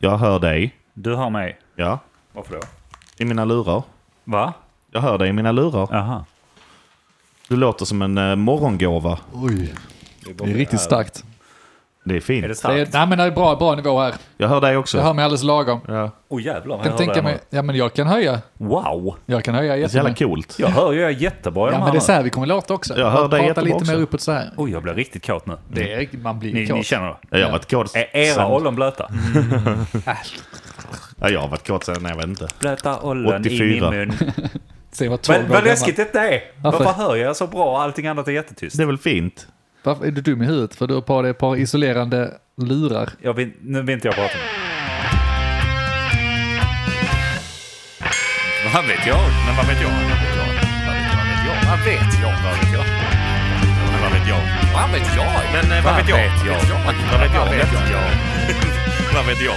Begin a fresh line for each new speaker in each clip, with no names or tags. Jag hör dig.
Du hör mig.
Ja.
Varför då?
I mina lurar.
Va?
Jag hör dig i mina lurar.
Jaha.
Du låter som en eh, morgongåva.
Oj. Det är riktigt starkt.
Det är
Är det
fint.
Det är,
starkt?
nej men det är bra, bra nivå här.
Jag hör dig också.
Jag hör mig alldeles lagom.
Ja.
Åh jävlar vad
Jag kan
jag hör
tänka
det
mig,
mig...
ja men jag kan höja.
Wow!
Jag kan höja
Det är så jävla
jättemycket.
coolt.
Jag hör ju jag jättebra i
Ja
de
men
här
det är så
nu.
här vi kommer låta också.
Jag hör dig
Prata
jättebra
lite
också.
mer uppåt så här.
Oj, jag blir riktigt kåt nu.
Det är, man blir
Ni,
kåt.
ni känner det?
Jag har varit kåt
Är era
sen-
ollon blöta?
Ja, jag har varit kåt sen, jag vet inte.
Blöta ollon i
84.
min mun.
Se vad 12
Vad,
år
vad
gammal.
läskigt detta är!
Varför?
Varför? hör jag så bra och allting annat är jättetyst?
Det är väl fint?
Varför är du dum i huvudet? För du har på dig ett par isolerande lurar.
Jag vill, nu vill inte jag prata med Vad vet jag? Men vad vet jag? Vad vet jag? Vad vet jag? Vad vet jag? Vad vet jag? Men vad vet jag? Vad
eh,
vet jag? Men vad vet jag? Vad vet jag? Vad vet jag? Vad vet jag?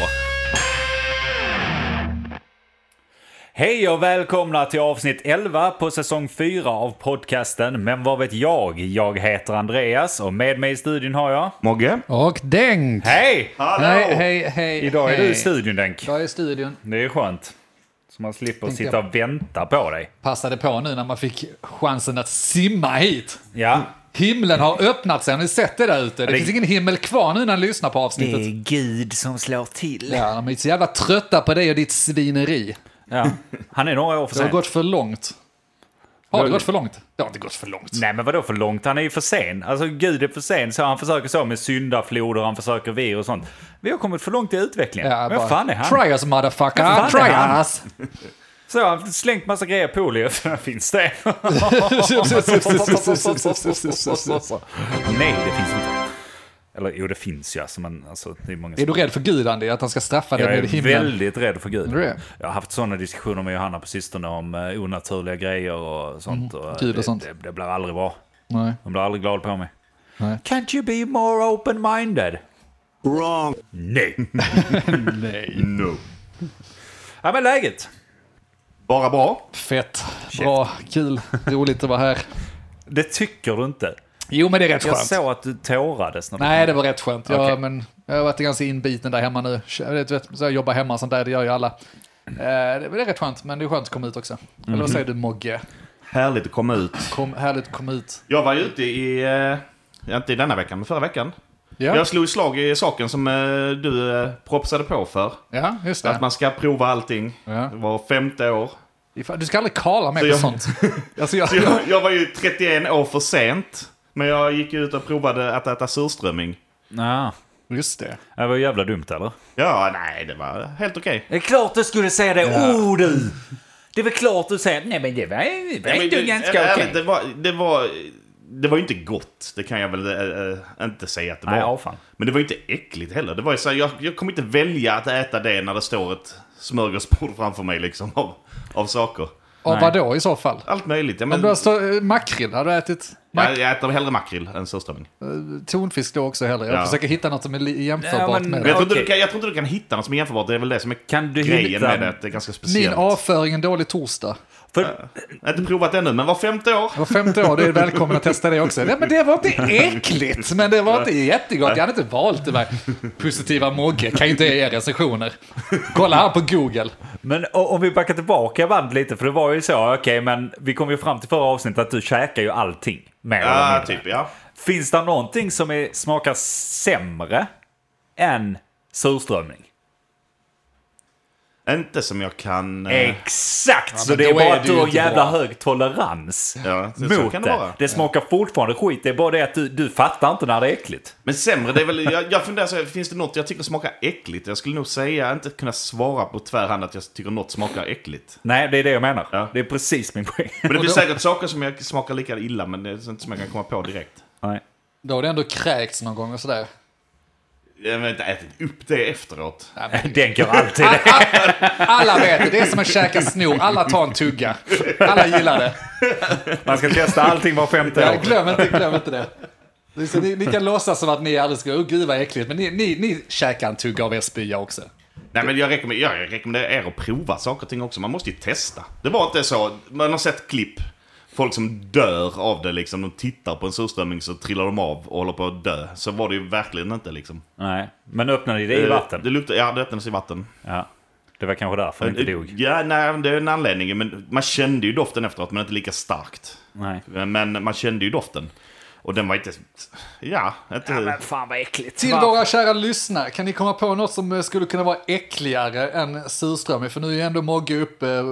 Hej och välkomna till avsnitt 11 på säsong 4 av podcasten Men vad vet jag? Jag heter Andreas och med mig i studion har jag...
Mogge?
Och Denk!
Hej!
Hej, hej, hej.
Idag är
hej.
du i studion Denk.
Jag är i studion.
Det är skönt. Så man slipper
Tänkte
sitta
jag.
och vänta på dig.
Passade på nu när man fick chansen att simma hit.
Ja.
Himlen har öppnat sig, har ni sett det där ute? Det,
det-
finns ingen himmel kvar nu när ni lyssnar på avsnittet.
Gud som slår till.
Ja, de är så jävla trötta på dig och ditt svineri.
Ja. Han är några år för
Det har
sent.
gått för långt. Har det gått för långt? Det har inte gått för långt.
Nej men vadå för långt? Han är ju för sen. Alltså Gud är för sen. Så han försöker så med syndafloder, han försöker virus och sånt. Vi har kommit för långt i utvecklingen.
Ja,
Vad
bara,
fan är han?
Try us motherfucker,
Vad fan är
try
han?
us!
Så har han slängt massa grejer på Oli och så finns det. Nej det finns inte. Eller jo det finns ju alltså men alltså, det är många
Är du rädd för Gud Andy, att han ska straffa dig
Jag är
med himlen?
väldigt rädd för Gud.
Är du det?
Jag har haft sådana diskussioner med Johanna på sistone om eh, onaturliga grejer och sånt. Och eh,
Mhm. Gud och
det,
sånt.
Det, det blir aldrig bra.
Nej.
De blir aldrig glada på mig.
Nej.
Can't you be more open-minded?
Wrong!
Nej.
Nej.
No.
ja, men läget.
Bara bra?
Fett, bra, kul, roligt att vara här.
Det tycker du inte.
Jo men det är rätt
Jag
skönt.
såg att du tårades. När du
Nej det var rätt skönt. Jag,
Okej.
men, jag har varit ganska inbiten där hemma nu. Jag, vet, vet, så jag jobbar hemma och sånt där, det gör ju alla. Eh, Det det är rätt skönt, men det är skönt att komma ut också. Eller
Mhm.
vad säger du Mogge?
Härligt att komma ut.
Kom, härligt att komma ut.
Jag var ju ute i, eh, inte i denna veckan, men förra veckan.
Ja,
Jag slog slag i saken som eh, du eh, propsade på för.
ja just
Att
det.
man ska prova allting
Ja.
var femte år.
Ifall- Du ska aldrig kala mig
Så
på
jag-
sånt. Alltså, jag,
Så jag, jag var ju 31 år för sent. Men jag gick ut och provade att äta surströmming.
Ja.
just det.
Det var jävla dumt eller?
Ja, nej, det var helt okej.
Det är klart du skulle säga det. Oh du! Det är väl klart du säger nej men det var, det var
Ja, men
inte
det-
ganska
ärligt,
okej.
Det var, det var... Det var ju inte gott, det kan jag väl eh, eh, inte säga att det var.
Nej, ja, fan.
Men det var ju inte äckligt heller. Det var ju så här, jag, jag kommer inte välja att äta det när det står ett smörgåsbord framför mig liksom av, av saker.
Och vad då i så fall?
Allt möjligt. Ja,
Om
men,
du har stå- eh, makrill, har du ätit? Mak-
jag, jag äter hellre makrill än surströmming.
tonfisk då också heller. Jag
Ja.
försöker hitta något som är li- jämförbart
Ja, men-
med
Men jag,
det.
tror inte du
Okej.
kan, jag tror inte du kan hitta något som är jämförbart. Det är väl det som är
Kan du
grejen
hitta-
med det. Att det är ganska
Min
speciellt.
avföring en dålig torsdag.
För,
Jag har inte provat det ännu, men var femte år.
Var femte år, du är välkommen att testa det också. Nej, men det var inte äckligt, men det var inte jättegott. Jag hade inte valt det. Där. Positiva Mogge kan ju inte ge er recensioner. Kolla här på Google.
Men o- om vi backar tillbaka bandet lite, för det var ju så, okej, men vi kom ju fram till förra avsnittet att du käkar ju allting. Mer eller
Ja,
mindre.
typ ja.
Finns det någonting som är, smakar sämre än surströmming?
Inte som jag kan... eh,
Exakt! så
men
det är
då
bara
är
att
det ju
du har
inte
jävla
bra.
hög tolerans
Ja, så- så
mot
kan
det.
det
Det,
vara.
smakar fortfarande skit, det är bara det att du, du fattar inte när det är äckligt.
Men sämre, det är väl, jag, jag funderar så här, finns det något jag tycker smakar äckligt? Jag skulle nog säga, inte kunna svara på tvärhand att jag tycker något smakar äckligt.
Nej, det är det jag menar.
Ja.
Det är precis min poäng.
Men det finns säkert saker som jag smakar lika illa, men det är inte som jag kan komma på direkt.
Nej.
Då har det ändå kräkts någon gång och sådär.
Jag har inte ätit upp det efteråt.
Nej, men-
Den går alltid
Alla vet det, det är som att käka snor. Alla tar en tugga. Alla gillar det.
Man ska testa allting var femte
Ja,
år.
glöm inte, glöm inte det. Det är så Ni, ni kan låtsas som att ni aldrig ska, oh gud vad äckligt, men ni, ni, ni käkar en tugga av er spya också.
Nej, men jag rekommenderar, jag rekommenderar er att prova saker och ting också. Man måste ju testa. Det var inte så, man har sett klipp. folk som dör av det liksom. De tittar på en surströmming så trillar de av och håller på att dö. Så var det ju verkligen inte liksom.
Nej, men öppnade det i vatten?
Eh, Det luktar, ja, det öppnades i vatten.
Ja. Det var kanske därför den inte
Eh,
dog.
Ja, nej, det är en anledning. Men man kände ju doften efteråt, men inte lika starkt.
Nej.
Men man kände ju doften. Och den var inte... Ja, inte...
fan vad äckligt.
Till våra kära lyssnare, kan ni komma på något som eh, skulle kunna vara äckligare än surströmming? För nu är ju ändå Mogge uppe, eh,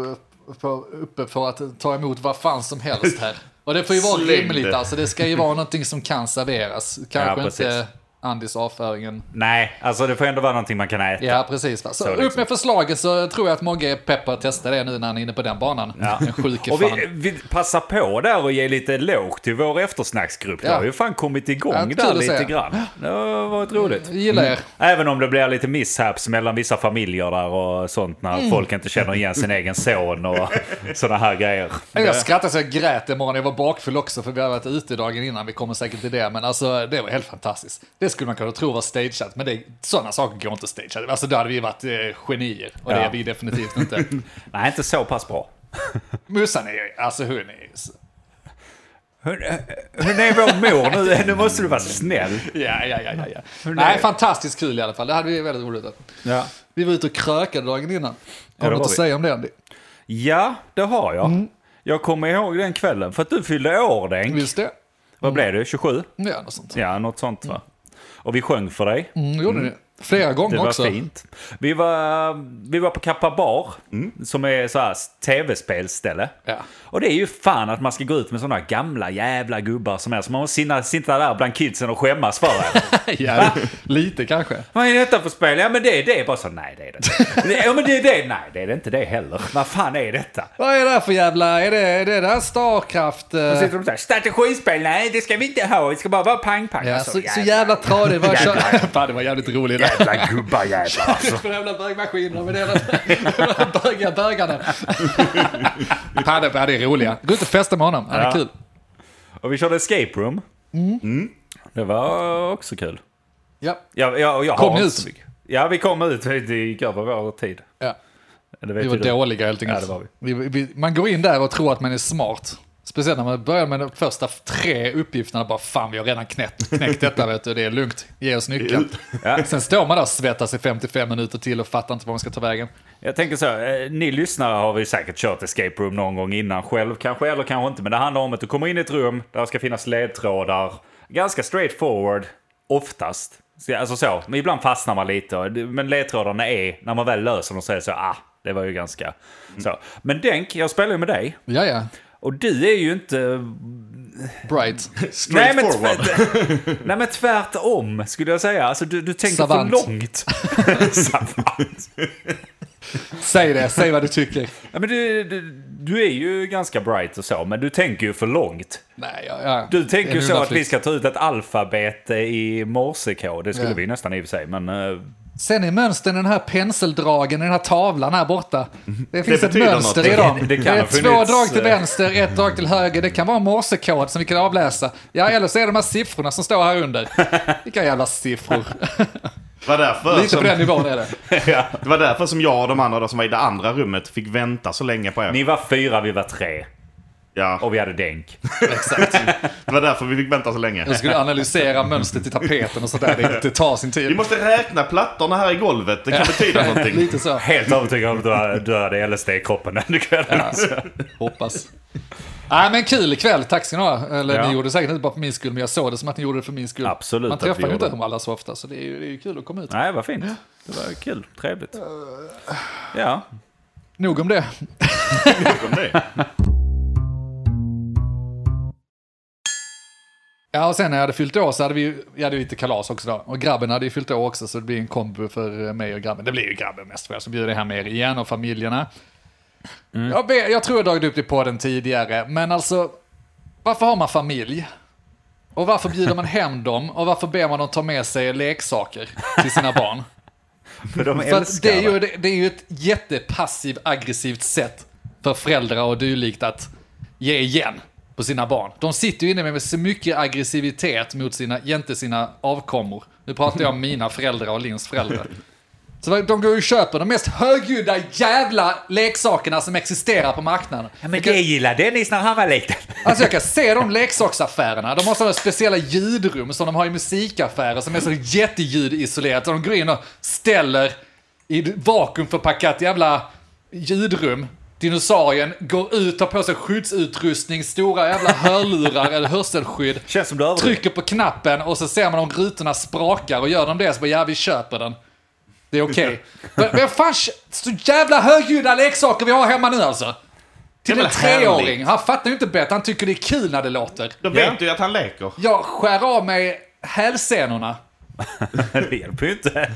på- uppe för att ta emot vad fan som helst här. Och det får ju vara
Släng det.
rimligt alltså, det ska ju vara någonting som kan serveras. Kanske
Ja, precis.
inte Andys avföringen.
Nej, alltså det får ändå vara någonting man kan äta.
Ja, precis. Va? Så,
liksom.
upp med förslaget så tror jag att Mogge är pepp på att testa det nu när han är inne på den banan. En sjuke
Och
fan.
vi, vi passar på där och ger lite låg till vår eftersnacksgrupp. Det
Ja.
har ju fan kommit igång
Ja, kul
där
att
lite
se.
grann. Det har varit roligt.
Jag gillar er.
Även om det blir lite mishaps mellan vissa familjer där och sånt när
Mm.
folk inte känner igen sin egen son och sådana här grejer.
Jag skrattade så jag grät imorgon. Jag var bakfull också för vi har varit ute dagen innan. Vi kommer säkert till det. Men alltså det var helt fantastiskt. Det skulle man kunna tro var stageat. Men det, sådana saker går inte stageat. Alltså då hade vi varit eh, genier. Och det
Ja.
är vi definitivt inte.
Nej, inte så pass bra.
Mussan är ju, alltså hon är ju så-
Hon, hon eh, är vår mor nu. Nu måste du vara snäll.
Ja, ja, ja, ja. ja. Nej, fantastiskt kul i alla fall. Det hade vi väldigt roligt åt.
Ja.
Vi var ute och krökade dagen innan.
det
Har du något
var
att
vi.
säga om det Andy?
Ja, det har jag. Jag kommer ihåg den kvällen för att du fyllde år, Denk.
Visst det?
Vad blev du? 27?
Ja, något sånt.
Ja, något sånt va? Och vi sjöng för dig.
Mm, gjorde ni? Flera gånger
Det var
också.
fint. Vi var, vi var på Kappa Bar, som är så här tv-spelsställe.
Ja.
Och det är ju fan att man ska gå ut med sådana gamla jävla gubbar som är. Så man måste sina- sitta där bland kidsen och skämmas för det.
ja, lite kanske.
Vad är detta för spel? Ja men det är det. Bara så, nej det är det inte. Ja men det är det. Nej det är det inte det heller. Vad fan är detta?
Vad är det här för jävla... Är det, är det där Starcraft? eh?
Och sitter de så här, strategispel, nej det ska vi inte ha. Det ska bara vara pang-pang.
Ja,
Alltså,
så, så jävla tradigt. Vad jag
Jävlar.
kör... Fan, det var jävligt roligt. Jävla
jävla gubbar jävlar. Alltså.
för jävla bögmaskiner med hela böga bögarna. Fan, det ja, det är roliga. Gå ut och festa med honom. Han är
Ja.
kul.
Och vi körde escape room.
Mm.
Mm. Det var också kul.
Ja.
Ja, ja, jag
Kom
har
ni
inte
ut?
så mycket. Ja, vi kom ut. Det gick över vår tid.
ja.
Det
Vi
vet
var
ju du.
dåliga helt enkelt.
Ja, det var
Vi- vi- Man går in där och tror att man är smart. Speciellt när man börjar med de första tre uppgifterna. Bara fan, vi har redan knäckt, knäckt detta vet du. Det är lugnt. Ge oss nyckeln.
Ja.
Sen står man där och svettas i 55 minuter till och fattar inte vad man ska ta vägen.
Jag tänker så, här, eh, ni lyssnare har vi säkert kört escape room någon gång innan själv kanske, eller kanske inte. Men det handlar om att du kommer in i ett rum, där ska finnas ledtrådar. Ganska straight forward, oftast. Så- Alltså så, men ibland fastnar man lite. och det- Men ledtrådarna är, när man väl löser dem så är det så, ah, det var ju ganska så. Men Denk, jag spelar ju med dig.
Ja, ja.
Och du är ju inte
Bright.
Straight
men
forward.
tvärt- nej men tvärtom skulle jag säga. Alltså du, du tänker
Savant.
för långt. Savant.
Säg det, säg vad du tycker.
Ja, men du, du, du är ju ganska bright och så, men du tänker ju för långt.
Nej, ja, ja.
Du tänker
Det är
ju
en
så att vi
undanflykt.
ska ta ut ett alfabet eh, i morsekod. Det skulle
Ja.
vi nästan i och för sig, men... eh,
Sen är mönstren i den här penseldragen i den här tavlan här borta. Det finns ett
betyder
mönster
något.
i dem.
Det- det kan ha
är
funnits,
två drag till
eh,
vänster, ett drag till höger. Det kan vara en morsekod som vi kan avläsa. Ja, eller så är det de här siffrorna som står här under. Vilka jävla siffror.
Det var därför
Lite på
som,
den nivån är det.
det var därför som jag och de andra då, som var i det andra rummet fick vänta så länge på er.
Ni var fyra, vi var tre.
Ja,
Och vi hade denk.
Exakt.
det var därför vi fick vänta så länge.
Jag skulle analysera mönstret i tapeten och sådär. Det, det tar sin
Vi
tid.
måste räkna plattorna här i golvet. Det kan betyda någonting.
Lite så.
Helt övertygad om att du hade- du hade LSD i kroppen den kvällen. alltså.
Hoppas. Nej men kul ikväll, tack ska ni ha. Eller
Ja.
ni gjorde det säkert inte bara för min skull, men jag såg det som att ni gjorde det för min skull.
Absolut
Man
att vi
träffar ju
gjorde
inte
det.
dem alla så ofta, så det är ju, det är ju kul att komma ut.
Nej, vad fint. Det var kul. Trevligt. Ja.
Nog om det.
Bakom det.
Ja, och sen när jag hade fyllt år så hade vi ju vi hade ju lite kalas också då. Och grabben hade ju fyllt år också, så det blir en kombo för eh, mig och grabben. Det blir ju grabben mest för jag, så bjuder jag hem er igen och familjerna. Jag, ber, jag tror jag dragit upp det på den tidigare, men alltså, varför har man familj? Och varför bjuder man hem dem? Och varför ber man dem ta med sig leksaker till sina barn?
För de
För att
älskar
det, är ju, det, det är ju ett jättepassiv aggressivt sätt för föräldrar och dylikt att ge igen på sina barn. De sitter ju inne med så mycket aggressivitet mot sina, inte sina avkommor. Nu pratar jag om mina föräldrar och Lins föräldrar. Så de går ju och köper de mest högljudda jävla leksakerna som existerar på marknaden.
Ja, men det gillade Dennis när han var liten.
Alltså jag kan se de leksaksaffärerna. De har sådana speciella ljudrum som de har i musikaffärer som är så jätteljudisolerat. Så de går in och ställer i ett vakuumförpackat jävla ljudrum. Dinosaurien går ut, tar på sig skyddsutrustning, stora jävla hörlurar eller hörselskydd.
Känns som du överdriver.
Trycker på knappen och så ser man om rutorna sprakar och gör de det så bara ja vi köper den. Det är okej. Men, men fan, så jävla högljudda leksaker vi har hemma nu alltså. Till
Det är
en
väl
treåring.
härligt.
Han fattar ju inte bättre. Han tycker det är kul när det låter.
Då vet du ju att han leker.
Jag skär av mig hälsenorna.
Det hjälper ju inte.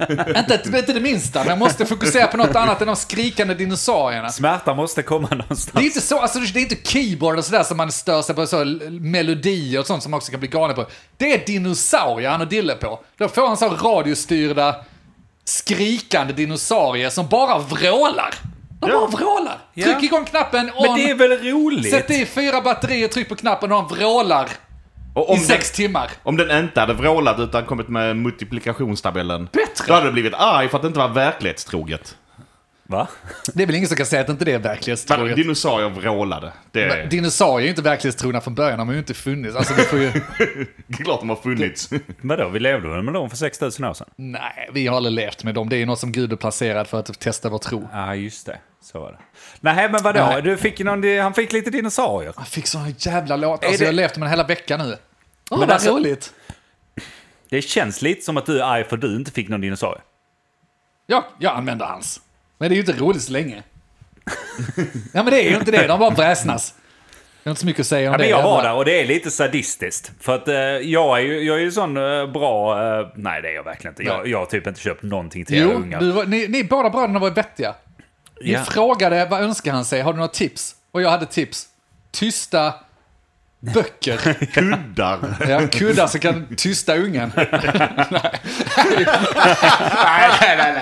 inte, inte det minsta, men jag måste fokusera på något annat än de skrikande dinosaurierna.
Smärta måste komma
Det är
någonstans.
inte så, alltså det är inte keyboard och sådär som man stör sig på, så l- melodier och sånt som man också kan bli galen på. Det är dinosaurier han och Dille på. Då får han så radiostyrda skrikande dinosaurier som bara vrålar. De bara vrålar. Tryck
Ja.
igång knappen,
Men
on,
det är väl roligt?
sätt i fyra batterier, tryck på knappen och han vrålar
Och
i
om, den,
sex timmar.
om den inte hade vrålat utan kommit med multiplikationstabellen. Då
Bättre!
hade du blivit arg för att det inte var verklighetstroget.
Va?
Det är väl ingen som kan säga att inte det är
Men
verklighetstroget.
dinosaurier vrålade. Det är
Men Dinosaurier är ju inte verklighetstrogna från början, de har ju inte funnits. Alltså, vi får ju...
klart de har funnits.
Vadå, vi levde väl med dem för 6000 år sedan?
Nej, vi har aldrig levt med dem. Det är ju något som Gud är placerad för att testa vår tro.
Ja, ah, just det. Så var det. Nej, men vadå?
Nej.
Du fick någon, han fick lite dinosaurier.
Jag fick såna jävla låtar.
Är
Alltså,
det-
Jag har levt med den hela veckan nu. Åh, vad
alltså-
roligt!
Det känns lite som att du är arg för du inte fick någon dinosaurie.
Ja, jag använder hans. Men det är ju inte roligt så länge. ja, men det är ju inte det. De bara bräsnas. Det är inte så mycket att säga om
Ja,
det.
men jag var
bara-
där och det är lite sadistiskt. För att eh, jag är ju jag är ju sån eh, bra... Eh, nej, det är jag verkligen inte. Jag,
Nej.
jag har typ inte köpt någonting till era
Jo,
ungar.
du var, ni, ni båda bröderna var vettiga. Ni
Ja.
frågade vad önskar han sig? Har du några tips? Och jag hade tips. Tysta böcker.
Kuddar.
Ja, kuddar som kan tysta ungen. Nej, nej,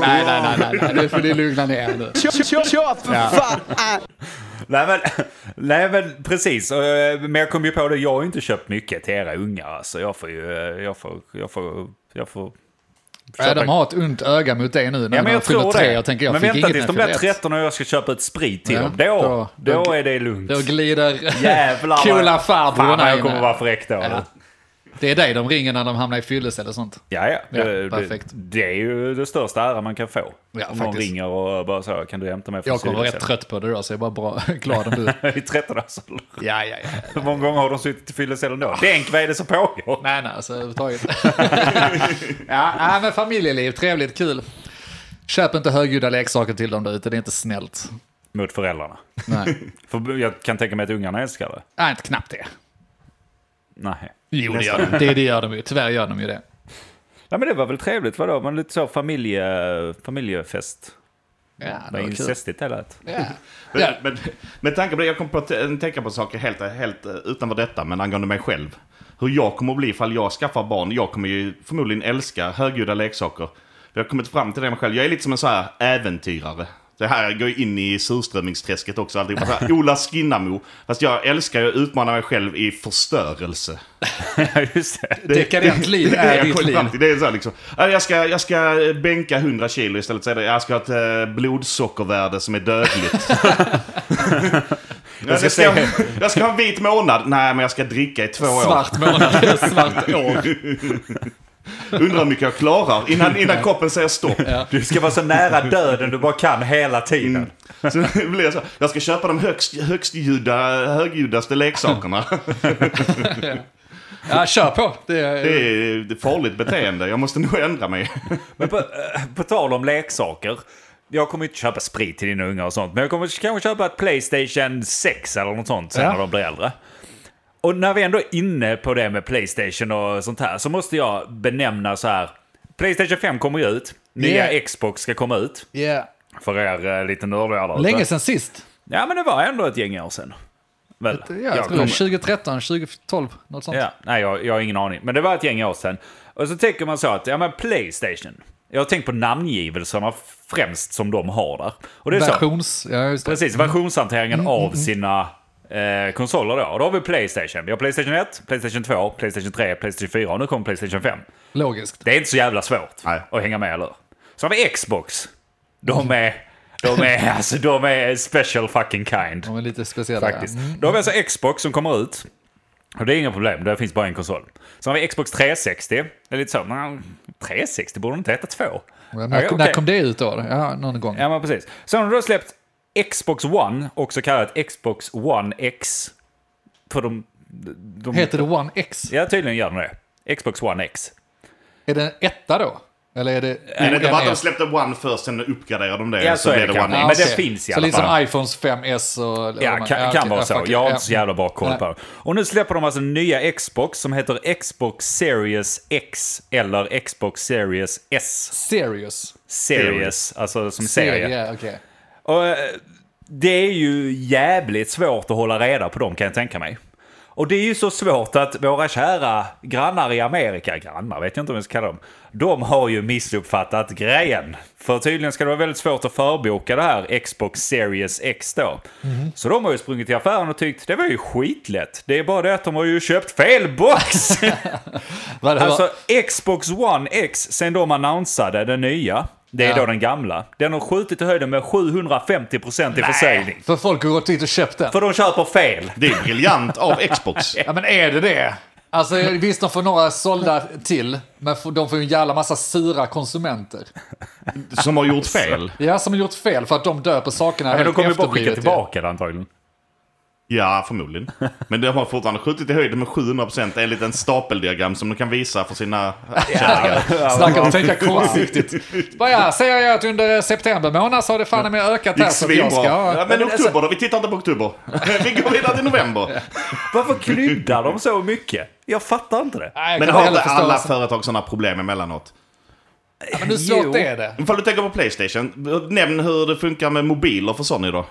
nej, nej, nej. Nu får ni lugna ner er nu.
Nej men, nej men precis, Och, eh, men jag kom ju på det, jag har ju inte köpt mycket till era ungar alltså. Jag får ju, eh, jag får, jag får, jag får...
Ja, de har ett ont öga mot dig nu när
Ja men
de
jag
fyller
tror
tre.
det.
Jag tänker, jag
men
fick
vänta
inget
tills de
när jag
blir
fyllde ett.
13 och jag ska köpa ett sprit till
Ja,
dem. Då,
då-
då,
då-
är det lugnt.
Då glider
Jävlar vad-
coola
Fan
farbrorna
vad
in.
jag kommer vara fräck då.
Ja. Det är dig de ringer när de hamnar i fylles eller sånt.
Ja, ja.
Ja,
det, det,
perfekt.
det är ju det största ära man kan få.
Ja,
Om någon
faktiskt.
ringer och bara så, kan du hämta mig från
Jag kommer vara rätt
Sydhuset?"
trött på det då, så jag är bara bra, glad om du...
I 13 års ålder.
Ja, ja, ja.
Hur många gånger har de suttit i fyllecellen då? Denk, vad är det som pågår?
Nej, nej, alltså överhuvudtaget. ja, nej, men familjeliv, trevligt, kul. Köp inte högljudda leksaker till dem där ute, det är inte snällt.
Mot föräldrarna.
Nej,
För jag kan tänka mig att ungarna älskar det.
nej inte knappt det.
Nej.
Jo, det gör de. Det, det gör de ju. Tyvärr gör de ju det.
Ja, men det var väl trevligt, vadå? Men lite så familje, familjefest.
Ja, det
Vad
var kul.
incestigt det lät.
Ja.
Men,
Ja.
men, med tanke på det, jag kom på att t- tänka på saker helt, helt eh, utanför detta, men angående mig själv. Hur jag kommer att bli ifall jag skaffar barn. Jag kommer ju förmodligen älska högljudda leksaker. Jag har kommit fram till det med mig själv. Jag är lite som en så här äventyrare. Det här går ju in i surströmmingsträsket också. Alltihopa. Så här, Ola Skinnamo. Fast jag älskar ju att utmana mig själv i förstörelse.
Ja, just det.
Dekadent liv
Nej,
är
jag
ditt
kom
liv.
fram till det. är så här liksom. Ja, Jag ska, jag ska bänka 100 kilo istället. Så är det, jag ska ha ett eh, blodsockervärde som är dödligt. jag, ska
se-
jag ska ha en vit månad. Nej, men jag ska dricka i två år.
Svart månad, svart år.
Undrar hur mycket jag klarar innan, innan kroppen säger stopp.
Du ska vara så nära döden du bara kan hela tiden.
Mm. Så det blir så, här, jag ska köpa de högst, högst ljuda, högljudaste leksakerna.
Ja, kör på. Det är,
Det är ett farligt beteende. Jag måste nog ändra mig.
Men på, eh, på tal om leksaker. Jag kommer inte köpa sprit till dina ungar och sånt. Men jag kommer kanske köpa ett Playstation 6 eller något sånt sen
Ja.
när de blir äldre. Och när vi ändå är inne på det med Playstation och sånt här så måste jag benämna så här. Playstation 5 kommer ju ut. Nya
Yeah.
Xbox ska komma ut.
yeah.
För er eh, lite nördiga där ute.
Länge sedan sist.
Ja, men det var ändå ett gäng år sedan. Väl?
Ja, jag tror
kommer-
2013, 2012, något sånt.
Ja, nej, jag, jag har ingen aning. Men det var ett gäng år sedan. Och så tänker man så att, ja men Playstation. Jag har tänkt på namngivelserna främst som de har där. Och det är så.
Versions... Ja, just det.
Precis, versionshanteringen av sina eh, konsoler då. Och då har vi Playstation. Vi har Playstation 1, Playstation 2, Playstation 3, Playstation 4 och nu kommer Playstation 5.
Logiskt.
Det är inte så jävla svårt
Nej.
att hänga med, eller hur? Så har vi Xbox. De är, de är, alltså, de är special fucking kind.
De är lite speciella.
Faktiskt. Då har vi alltså Xbox som kommer ut. Och det är inga problem, där finns bara en konsol. Sen har vi Xbox 360. Det är lite så, men 360 borde de inte heta två?
Ja. Men När,
Ja, okej.
när kom det ut då? Ja, någon gång.
Ja, men precis. Sen har de då släppt Xbox One, också kallat Xbox One X. För de... de
Heter det One X?
Ja, tydligen gör de det. Xbox One X.
Är det en etta då? Eller är det...
Är det inte bara att de släppte One först, sen uppgraderade de det
Ja,
och
så
så
är
blev
det
det
kanske.
One
Ja,
X.
men det finns i alla
Så
fall.
lite som iPhones 5S och...
Ja, kan, kan
okej,
vara
ja,
så.
fuck it.
Jag har
Ja.
inte så jävla bra koll
Nej.
på det. Och nu släpper de alltså nya Xbox som heter Xbox Series X eller Xbox Series S.
Serious.
Series, alltså som serie.
Serie, okej.
Och, eh, det är ju jävligt svårt att hålla reda på dem kan jag tänka mig. Och det är ju så svårt att våra kära grannar i Amerika, grannar vet jag inte om jag ska kalla dem, de har ju missuppfattat grejen. För tydligen ska det vara väldigt svårt att förboka det här Xbox Series X då. Så de har ju sprungit till affären och tyckt det var ju skitlätt. Det är bara det att de har ju köpt fel box!
Vad det
Alltså
var-
Xbox One X, sen de annonsade den nya, det är
Ja.
då den gamla. Den har skjutit i höjden med 750% i försäljning.
För folk har gått dit och köpt den.
För de köper fel.
Det är briljant av Xbox.
Ja, men är det det? Alltså visst, de får några sålda till, men f- de får ju en jävla massa sura konsumenter.
Som har gjort fel.
Ja, som har gjort fel för att de döper sakerna
Men de
helt
kommer ju bara skicka
efterblivet ju.
tillbaka den antagligen.
Ja, förmodligen. Men de har fortfarande skjutit i höjden med 700% enligt en stapeldiagram som de kan visa för sina kärringar.
Snacka om att tänka kortsiktigt. Bara, ja, säger jag att under september månad så har det fan med ökat
Det
här
gick
så att jag
svinbra.
ska...
Ja,
Ja,
men oktober då? Vi tittar inte på oktober. Vi går vidare till november.
Varför kryddar de så mycket? Jag fattar inte det.
Nej, jag
Men
kan
har
heller
inte
förstå alltså-
alla
vad som-
företag sådana problem emellanåt?
Ja, Men hur svårt är det?
Ifall du tänker på Playstation, nämn hur det funkar med mobiler för Sony då.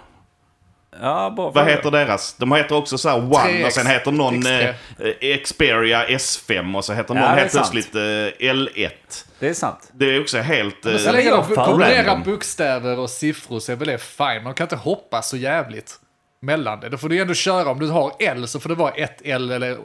Ja, bara för
Vad
det.
heter deras? De heter också så här One
3X,
och sen heter någon
X3.
eh, eh, Xperia S5 och så heter någon
Ja, det är
helt
sant.
plötsligt eh, L1.
Det är sant.
Det är också helt... eh,
Så länge
jag
de
fan
kombinerar
random.
bokstäver och siffror så är väl det fine. Man kan inte hoppa så jävligt mellan det. Då får du ändå köra, om du har L så får det vara ett L eller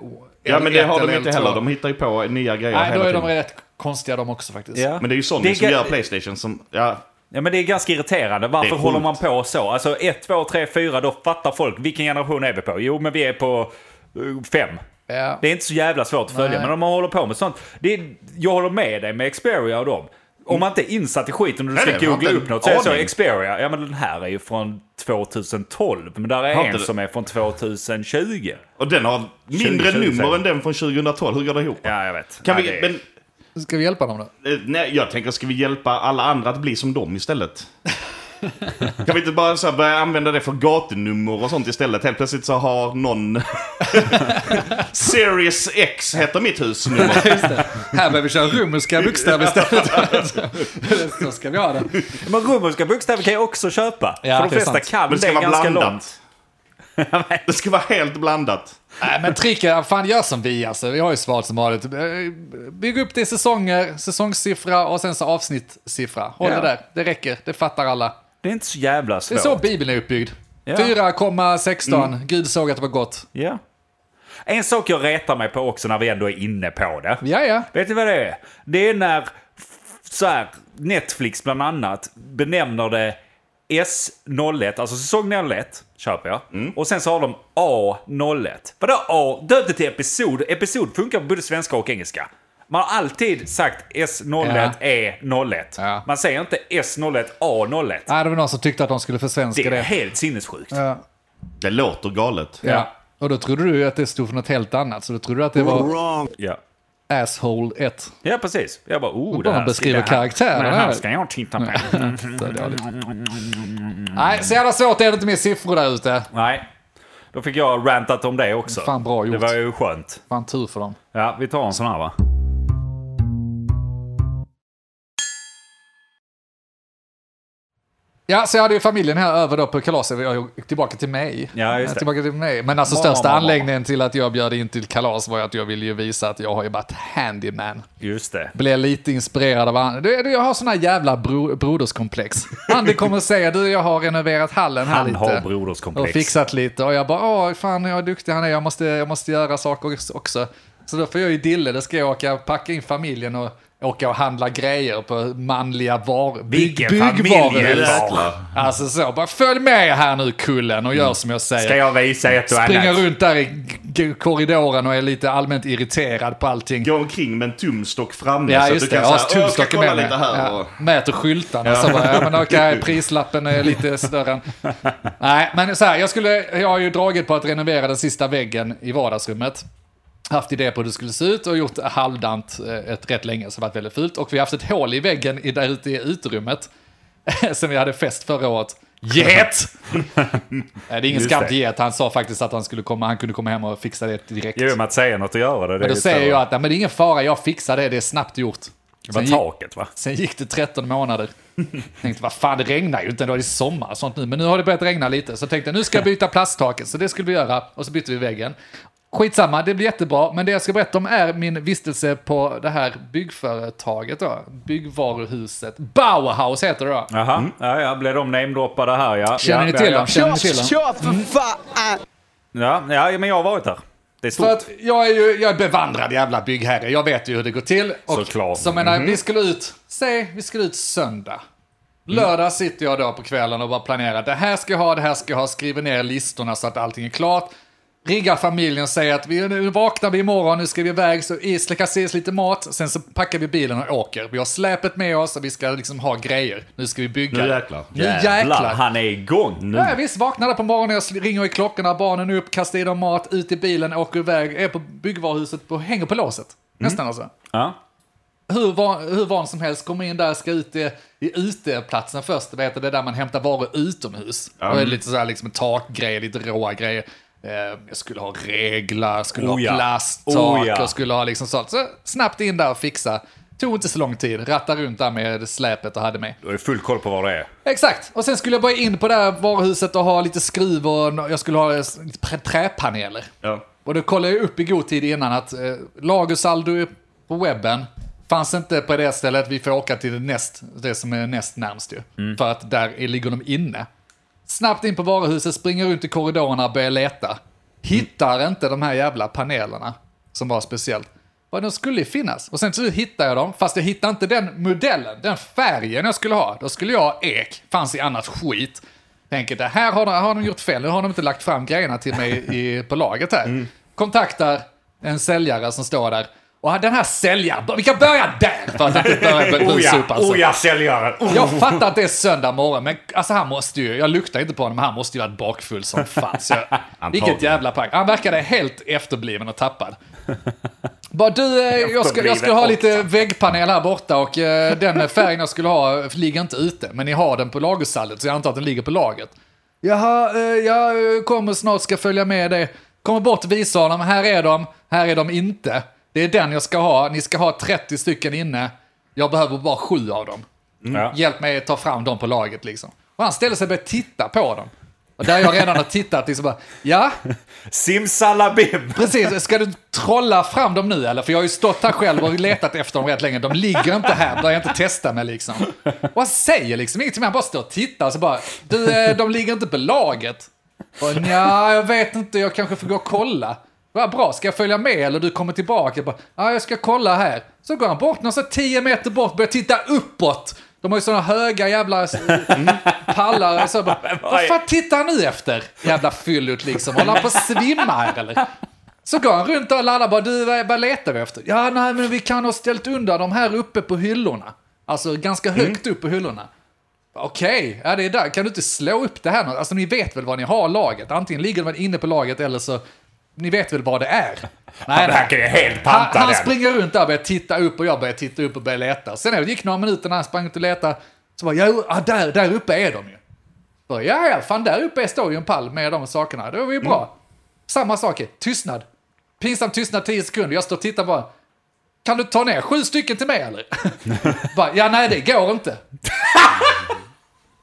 ja men det
L1
har de
eller
inte
L2.
heller. De hittar ju på nya grejer
Nej, då
hela
är de
tiden.
rätt konstiga de också faktiskt.
Ja.
Men det är ju Sony
Det är
som
ga-
gör Playstation som... Ja,
Ja, men det är ganska irriterande.
Det
Varför
är
håller man
sjukt.
på så? Alltså 1, 2, 3, 4, då fattar folk. Vilken generation är vi på? Jo, men vi är på eh, 5.
Ja.
Det är inte så jävla svårt att följa,
Nej.
men om man håller på med sånt. Det är, jag håller med dig med Xperia och dem. Om man inte är insatt i skiten och du
Nej,
ska
nej, man har
googla
inte
upp något så är det så
aning.
Xperia, ja men den här är ju från 2012. Men där är
Har
en
inte det-
som är från 2020.
och den har mindre
20,
nummer
säger
än den från 2012. Hur går det ihop?
Ja, jag vet.
Kan
ja,
vi,
det är-
men,
Ska vi hjälpa dem då?
Eh, Nej, jag tänker, ska vi hjälpa alla andra att bli som dem istället? Kan vi inte bara så här börja använda det för gatunummer och sånt istället? Helt plötsligt så har någon... Series X heter mitt husnummer.
Här behöver vi köra romerska bokstäver istället. så ska vi ha det.
Men romerska bokstäver kan jag också köpa.
Ja,
för de
det är
flesta
sant.
kan
Men det ska
det
vara
ganska långt.
blandat. Det ska vara helt blandat.
Nej, men tricken, fan gör som vi alltså. Vi har ju svarat som vanligt. Eh, Bygg upp det i säsonger, säsongssiffra och sen så avsnittssiffra. Håll
Ja.
det där, det räcker, det fattar alla.
Det är inte så jävla
Det
svårt.
är så Bibeln är uppbyggd. 4,16,
Mm.
Gud såg att det var gott.
Ja. En sak jag retar mig på också när vi ändå är inne på det.
Ja, ja.
Vet ni vad det är? Det är när f- så här, Netflix bland annat benämner det S01, alltså säsong 01, köper jag.
Mm.
Och sen så har de A01. Vadå A? Döpte till episod. Episod funkar på både svenska och engelska. Man har alltid sagt S01,
Ja.
E01.
Ja.
E Man säger inte S01, A01.
Nej, det var någon som tyckte att de skulle försvenska
Det
det.
är helt sinnessjukt.
Ja.
Det låter galet.
ja. Och då trodde du ju att det stod för något helt annat, så då trodde du att det var
Ja.
asshole 1.
Ja, precis. Jag bara, oh, det
bara
här,
beskriver
det här,
karaktären
Det
här.
här ska jag titta på.
Så dåligt. Nej, så jävla svårt är det inte med siffror där ute.
Nej, då fick jag rantat om det också.
Fan, bra
Det
gjort.
var ju skönt.
Fan tur för dem.
Ja, vi tar en sån här va?
Ja, så jag hade ju familjen här över då på kalaset. Jag gick tillbaka till mig.
Ja, just det.
Tillbaka till mig. Men alltså
Mamma,
största
mamma.
anläggningen till att jag bjöd in till kalas var ju att jag ville ju visa att jag har ju varit handyman.
Just det.
Blev lite inspirerad av han. Du, du, jag har såna jävla bro, broderskomplex. Andy kommer och säger du, jag har renoverat hallen här
Han
lite.
har broderskomplex.
Och fixat lite. Och jag bara, åh fan jag är duktig han är, jag måste, jag måste göra saker också. Så då får jag ju dille, det ska jag åka, packa in familjen och åka och handla grejer på manliga var, bygg,
Vilken familj
byggvaruhus.
det är.
Alltså så, bara följ med här nu kullen och gör som jag säger.
Mm. Ska jag visa ett och
Springer
annat?
runt där i g- g- korridoren och är lite allmänt irriterad på allting.
Gå omkring med en tumstock framme
Ja,
så
just
att du
det.
kan
Jag har
säga "Åh, jag ska
tumstock
kolla
med mig.
lite här.
Ja.
Och...
Mäter skyltarna så bara, ja men okej, prislappen är lite större än... Nej, men så här, jag, skulle, jag har ju dragit på att renovera den sista väggen i vardagsrummet. Haft idé på hur det skulle se ut och gjort halvdant eh, ett rätt länge som varit väldigt fult. Och vi har haft ett hål i väggen i, där ute i uterummet. som vi hade fest förra året. Get! Nej, det är ingen
Just
skarpt
det.
get, han sa faktiskt att han, skulle komma, han kunde komma hem och fixa det direkt.
Jo, med att säga något och göra det. det
men
är
då
ju
säger
så.
jag att nej, men det är ingen fara, jag fixar det, det är snabbt gjort.
Det
Sen
var
gick-
taket va?
Sen gick det 13 månader. Tänkte, vad fan, det regnar ju inte, då är det sommar och sånt nu. Men nu har det börjat regna lite. Så tänkte jag, nu ska jag byta plasttaket. Så det skulle vi göra. Och så bytte vi väggen. Skitsamma, det blir jättebra. Men det jag ska berätta om är min vistelse på det här byggföretaget då. Byggvaruhuset. Bauhaus heter det då.
Jaha, ja, ja, blev de namedroppade här ja.
Mm. Känner
ja,
ni
ja,
till
ja.
dem? Känner ni till dem?
Kör för fan!
Ja, ja, men jag har varit där. Det är stort.
För att jag är ju jag är bevandrad jävla byggherre. Jag vet ju hur det går till. Och
Såklart.
Så menar, vi skulle ut, säg, vi skulle ut söndag. Lördag sitter jag då på kvällen och bara planerar. Det här ska jag ha, det här ska jag ha. Skriver ner listorna så att allting är klart. Riggar familjen, säger att vi, nu vaknar vi imorgon, nu ska vi iväg, så i- släcka ses lite mat. Sen så packar vi bilen och åker. Vi har släpet med oss och vi ska liksom ha grejer. Nu ska vi bygga.
Nu jäklar.
Nu jäklar.
han är igång.
Ja, visst, vaknade på morgonen, jag ringer i klockorna, barnen upp, kastar i dem mat, ut i bilen, åker iväg, är på byggvaruhuset och hänger på låset.
Mm.
Nästan alltså.
Ja.
Hur van, hur van som helst, kommer in där, ska ut i, i uteplatsen först, vet du, det är där man hämtar varor utomhus. Och det är lite så här liksom takgrejer, lite råa grejer. Eh, Jag skulle ha reglar, skulle
Oh ja.
ha plasttak
Oh ja.
och skulle ha liksom sånt. Så snabbt in där och fixa. Tog inte så lång tid, ratta runt där med släpet och hade med.
Du har ju full koll på vad det är.
Exakt, och sen skulle jag bara in på det här varuhuset och ha lite skruv och nå- jag skulle ha eh, s- lite prä- träpaneler.
Ja.
Och då kollade jag upp i god tid innan att eh, lagersaldo på webben fanns inte på det stället. Vi får åka till det, näst, det som är näst närmst ju. För att där är- ligger de inne. Snabbt in på varuhuset, springer runt i korridorerna och börjar leta. Hittar inte de här jävla panelerna som var speciellt. Vad de skulle finnas. Och sen så hittar jag dem, fast jag hittar inte den modellen, den färgen jag skulle ha. Då skulle jag ha ek, fanns i annat skit. Tänker det här har de, har de gjort fel, nu har de inte lagt fram grejerna till mig i, på laget här.
Mm.
Kontaktar en säljare som står där. Och den här säljaren, vi kan börja där för att inte börja busupa. alltså.
oh ja, säljaren! Oh.
Jag fattar att det är söndag morgon, men alltså han måste ju, jag luktar inte på honom, men han måste ju varit bakfull som fan. Så jag, vilket jävla pack. Han verkade helt efterbliven och tappad. Bara du, eh, jag ska, jag ska ha lite väggpanel här borta och eh, den färgen jag skulle ha eh, ligger inte ute, men ni har den på lagersallet så jag antar att den ligger på lagret. Jaha, eh, jag eh, kommer snart ska följa med dig. Kommer bort och visa honom, här är de, här är de inte. Det är den jag ska ha, ni ska ha 30 stycken inne. Jag behöver bara sju av dem
Ja.
hjälp mig ta fram dem på laget liksom. Och han ställer sig och börjar titta på dem. Och där jag redan har tittat liksom bara, ja,
Simsalabim!
precis, ska du trolla fram dem nu eller? För jag har ju stått här själv och letat efter dem rätt länge, de ligger inte här, börjar inte testa mig liksom. Och han säger liksom ingenting, han bara står och tittar och så bara, du, eh, de ligger inte på laget. Och nja, jag vet inte, jag kanske får gå och kolla. Vad bra, ska jag följa med eller du kommer tillbaka? Jag bara, ja, jag ska kolla här. Så går han bort någonstans 10 meter bort, börjar titta uppåt. De har ju sådana höga jävla eh, pallar. Och Så jag bara, vad fan tittar han nu efter? Jävla fyllut liksom. Håller han på att svimma här eller? Så går han runt och alla andra bara, du vad vad letar vi efter? Ja, nej men vi kan ha ställt undan de här uppe på hyllorna. Alltså ganska högt upp på hyllorna. Okej, ja, det är där. Kan du inte slå upp det här? nå- Alltså ni vet väl vad ni har laget? Antingen ligger man inne på laget eller så... Ni vet väl vad det är? Nej,
Han verkar ju helt
Han,
pantad
han
än.
springer runt där och börjar titta upp och jag börjar titta upp och börjar leta. Sen när det gick några minuter när han sprang ut och letade. Så bara, ja, ja, där, där uppe är de ju. Bara, ja, ja, fan där uppe står ju en pall med de sakerna. Det var ju bra. Samma sak, är, tystnad. Pinsam tystnad 10 sekunder. Jag står och tittar bara. Kan du ta ner sju stycken till mig eller? bara, ja, nej, det går inte.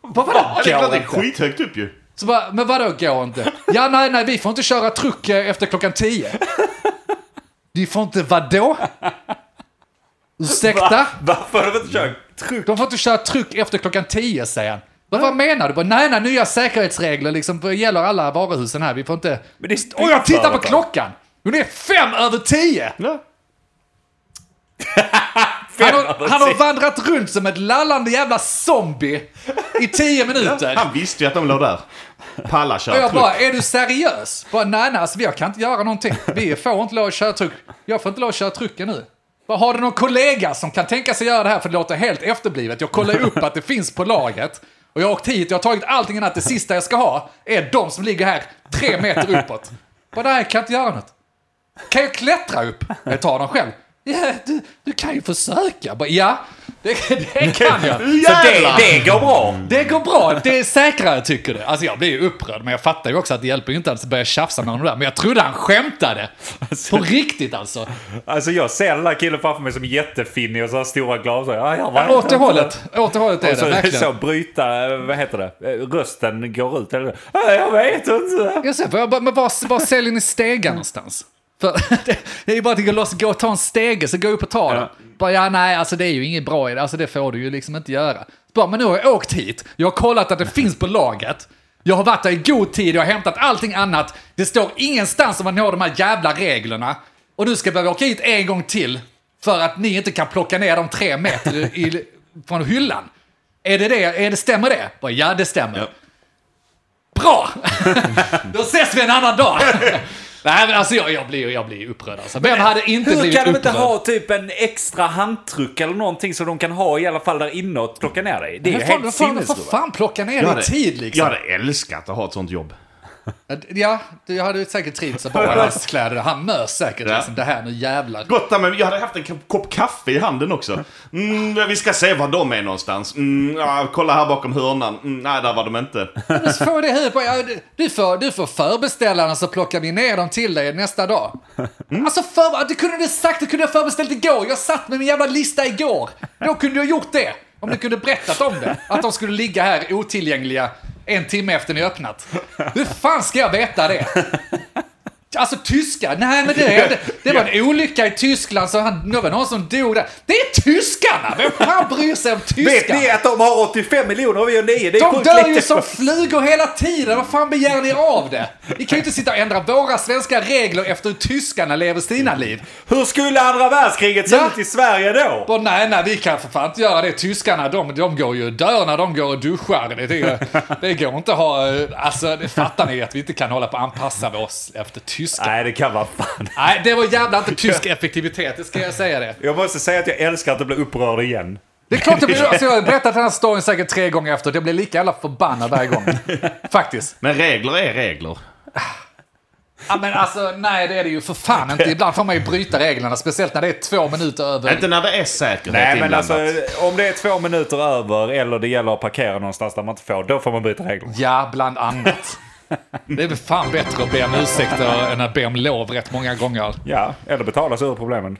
Vad var
Det är klart det
det?
är skithögt upp ju.
Så bara, men vadå går inte? Ja, nej, nej, vi får inte köra truck eh, efter klockan tio. Vi får inte vadå? Ursäkta?
Varför har de inte kört truck?
De får inte köra truck efter klockan tio, säger han. Vad, vad menar du? Bara, nej, nej, nya säkerhetsregler liksom gäller alla varuhusen här. Vi får inte...
Men det är alltså. ett
Och jag tittar på
byggföretag.
klockan! Hon är fem över tio!
Ja.
Han
över
har, han har
tio.
vandrat runt som ett lallande jävla zombie i tio minuter.
Han visste ju att de låg där. Pallar
Och
köra
jag
truck.
bara, är du seriös? Bara, nej, nej, alltså, jag kan inte göra någonting. Vi får inte lov att köra truck. Jag får inte lov att köra truck nu. Bara, har du någon kollega som kan tänka sig göra det här? För det låter helt efterblivet. Jag kollar ju upp att det finns på laget. Och jag har åkt hit, jag har tagit allting annat. Det sista jag ska ha är de som ligger här tre meter uppåt. Bara, nej, jag kan inte göra något. Kan jag klättra upp? Jag tar dem själv. Ja, du, du kan ju försöka. Bara, ja, det, det kan jag.
Så det, det går bra.
Det går bra, det är säkrare tycker du. Alltså jag blir ju upprörd, men jag fattar ju också att det hjälper ju inte alls att börja tjafsa med honom där. Men jag trodde han skämtade. På riktigt alltså.
Alltså jag ser den där killen framför mig som jättefinnig och så här stora glasögon. Ja, jag var-
Ja, åt det hållet, åt det hållet är
Och
det
så, så
verkligen.
bryta, eh, vad heter det, Eh, rösten går ut. Eller, "Ja, jag vet inte.
Jag ser, för jag bara, men var, var säljer ni stegar någonstans? För det, det är ju bara att gå loss, gå och ta en stege, så gå upp och ta den. Bara, ja nej, alltså det är ju inget bra i det, alltså det får du ju liksom inte göra. Bara, men nu har jag åkt hit, jag har kollat att det finns på laget. Jag har varit där i god tid, jag har hämtat allting annat. Det står ingenstans om man når de här jävla reglerna. Och du ska behöva åka hit en gång till för att ni inte kan plocka ner dem tre meter i, i, från hyllan. Är det det? Är det stämmer det? Bara, ja, det stämmer. Bra! Då ses vi en annan dag! Nej men alltså jag, jag blir ju jag blir ju upprörd alltså. Vem hade inte
Hur
blivit
kan de
upprörd?
inte ha typ en extra handtruck eller någonting som de kan ha i alla fall där inne och plocka ner dig? Det är
Men
ju
fan,
helt
fan, fan,
sinnesrubbat.
fan plocka ner
Jag
det i
hade-
tid
Jag
liksom?
hade älskat att ha ett sånt jobb.
Ja, du hade ju säkert trivts att bara i hans kläder. Han mös säkert
Ja.
liksom. Det här nu jävlar.
Gott, men jag hade haft en kopp kaffe i handen också. Mm, vi ska se var de är någonstans. Mm, ja, kolla här bakom hörnan. Mm, nej, där var de inte.
Du får det i huvudet på ja, du- du, får, du får förbeställa den så plockar vi ner dem till dig nästa dag.
Mm.
Alltså för, det kunde du sagt, det kunde jag förbeställt igår. Jag satt med min jävla lista igår. Då kunde jag gjort det. Om du kunde berättat om det. Att de skulle ligga här otillgängliga en timme efter ni öppnat. Hur fan ska jag veta det? Alltså tyska, nej men det, det, det var en olycka i Tyskland så han, det var någon som dog där. Det är tyskarna! Vem fan bryr sig om
Vet
tyskarna?
ni att de har 85 miljoner och vi har 9? Det är
De
sjukt
dör
lite.
ju som flugor hela tiden, vad fan begär ni av det? Ni kan ju inte sitta och ändra våra svenska regler efter hur tyskarna lever sina liv.
Hur skulle andra världskriget se
Ja.
ut i Sverige då?
Bara, nej, nej, vi kan för fan inte göra det. Tyskarna, de, de går ju och dör när de går och duschar. Det, det, det går inte att ha... eh, Alltså, det fattar ni att vi inte kan hålla på att anpassa oss efter tyska. Nej,
Nej, det kan vara fan.
det var jävla inte tysk effektivitet, det ska jag säga det.
Jag måste säga att jag älskar att du blir upprörd igen.
Det är klart det blir... Alltså, jag har berättat den här storyn säkert tre gånger efter. Det blir lika jävla förbannad varje gång. Faktiskt.
Men regler är regler.
Ja, men alltså, nej det är det ju för fan inte. Ibland får man ju bryta reglerna, speciellt när det är två minuter över.
Inte när det är säkerhet
Nej, men
inblandat.
alltså om det är två minuter över eller det gäller att parkera någonstans där man inte får, då får man byta regler.
Ja, bland annat. Det är väl fan bättre att be om ursäkter än att be om lov rätt många gånger.
Ja, eller betala sig ur problemen.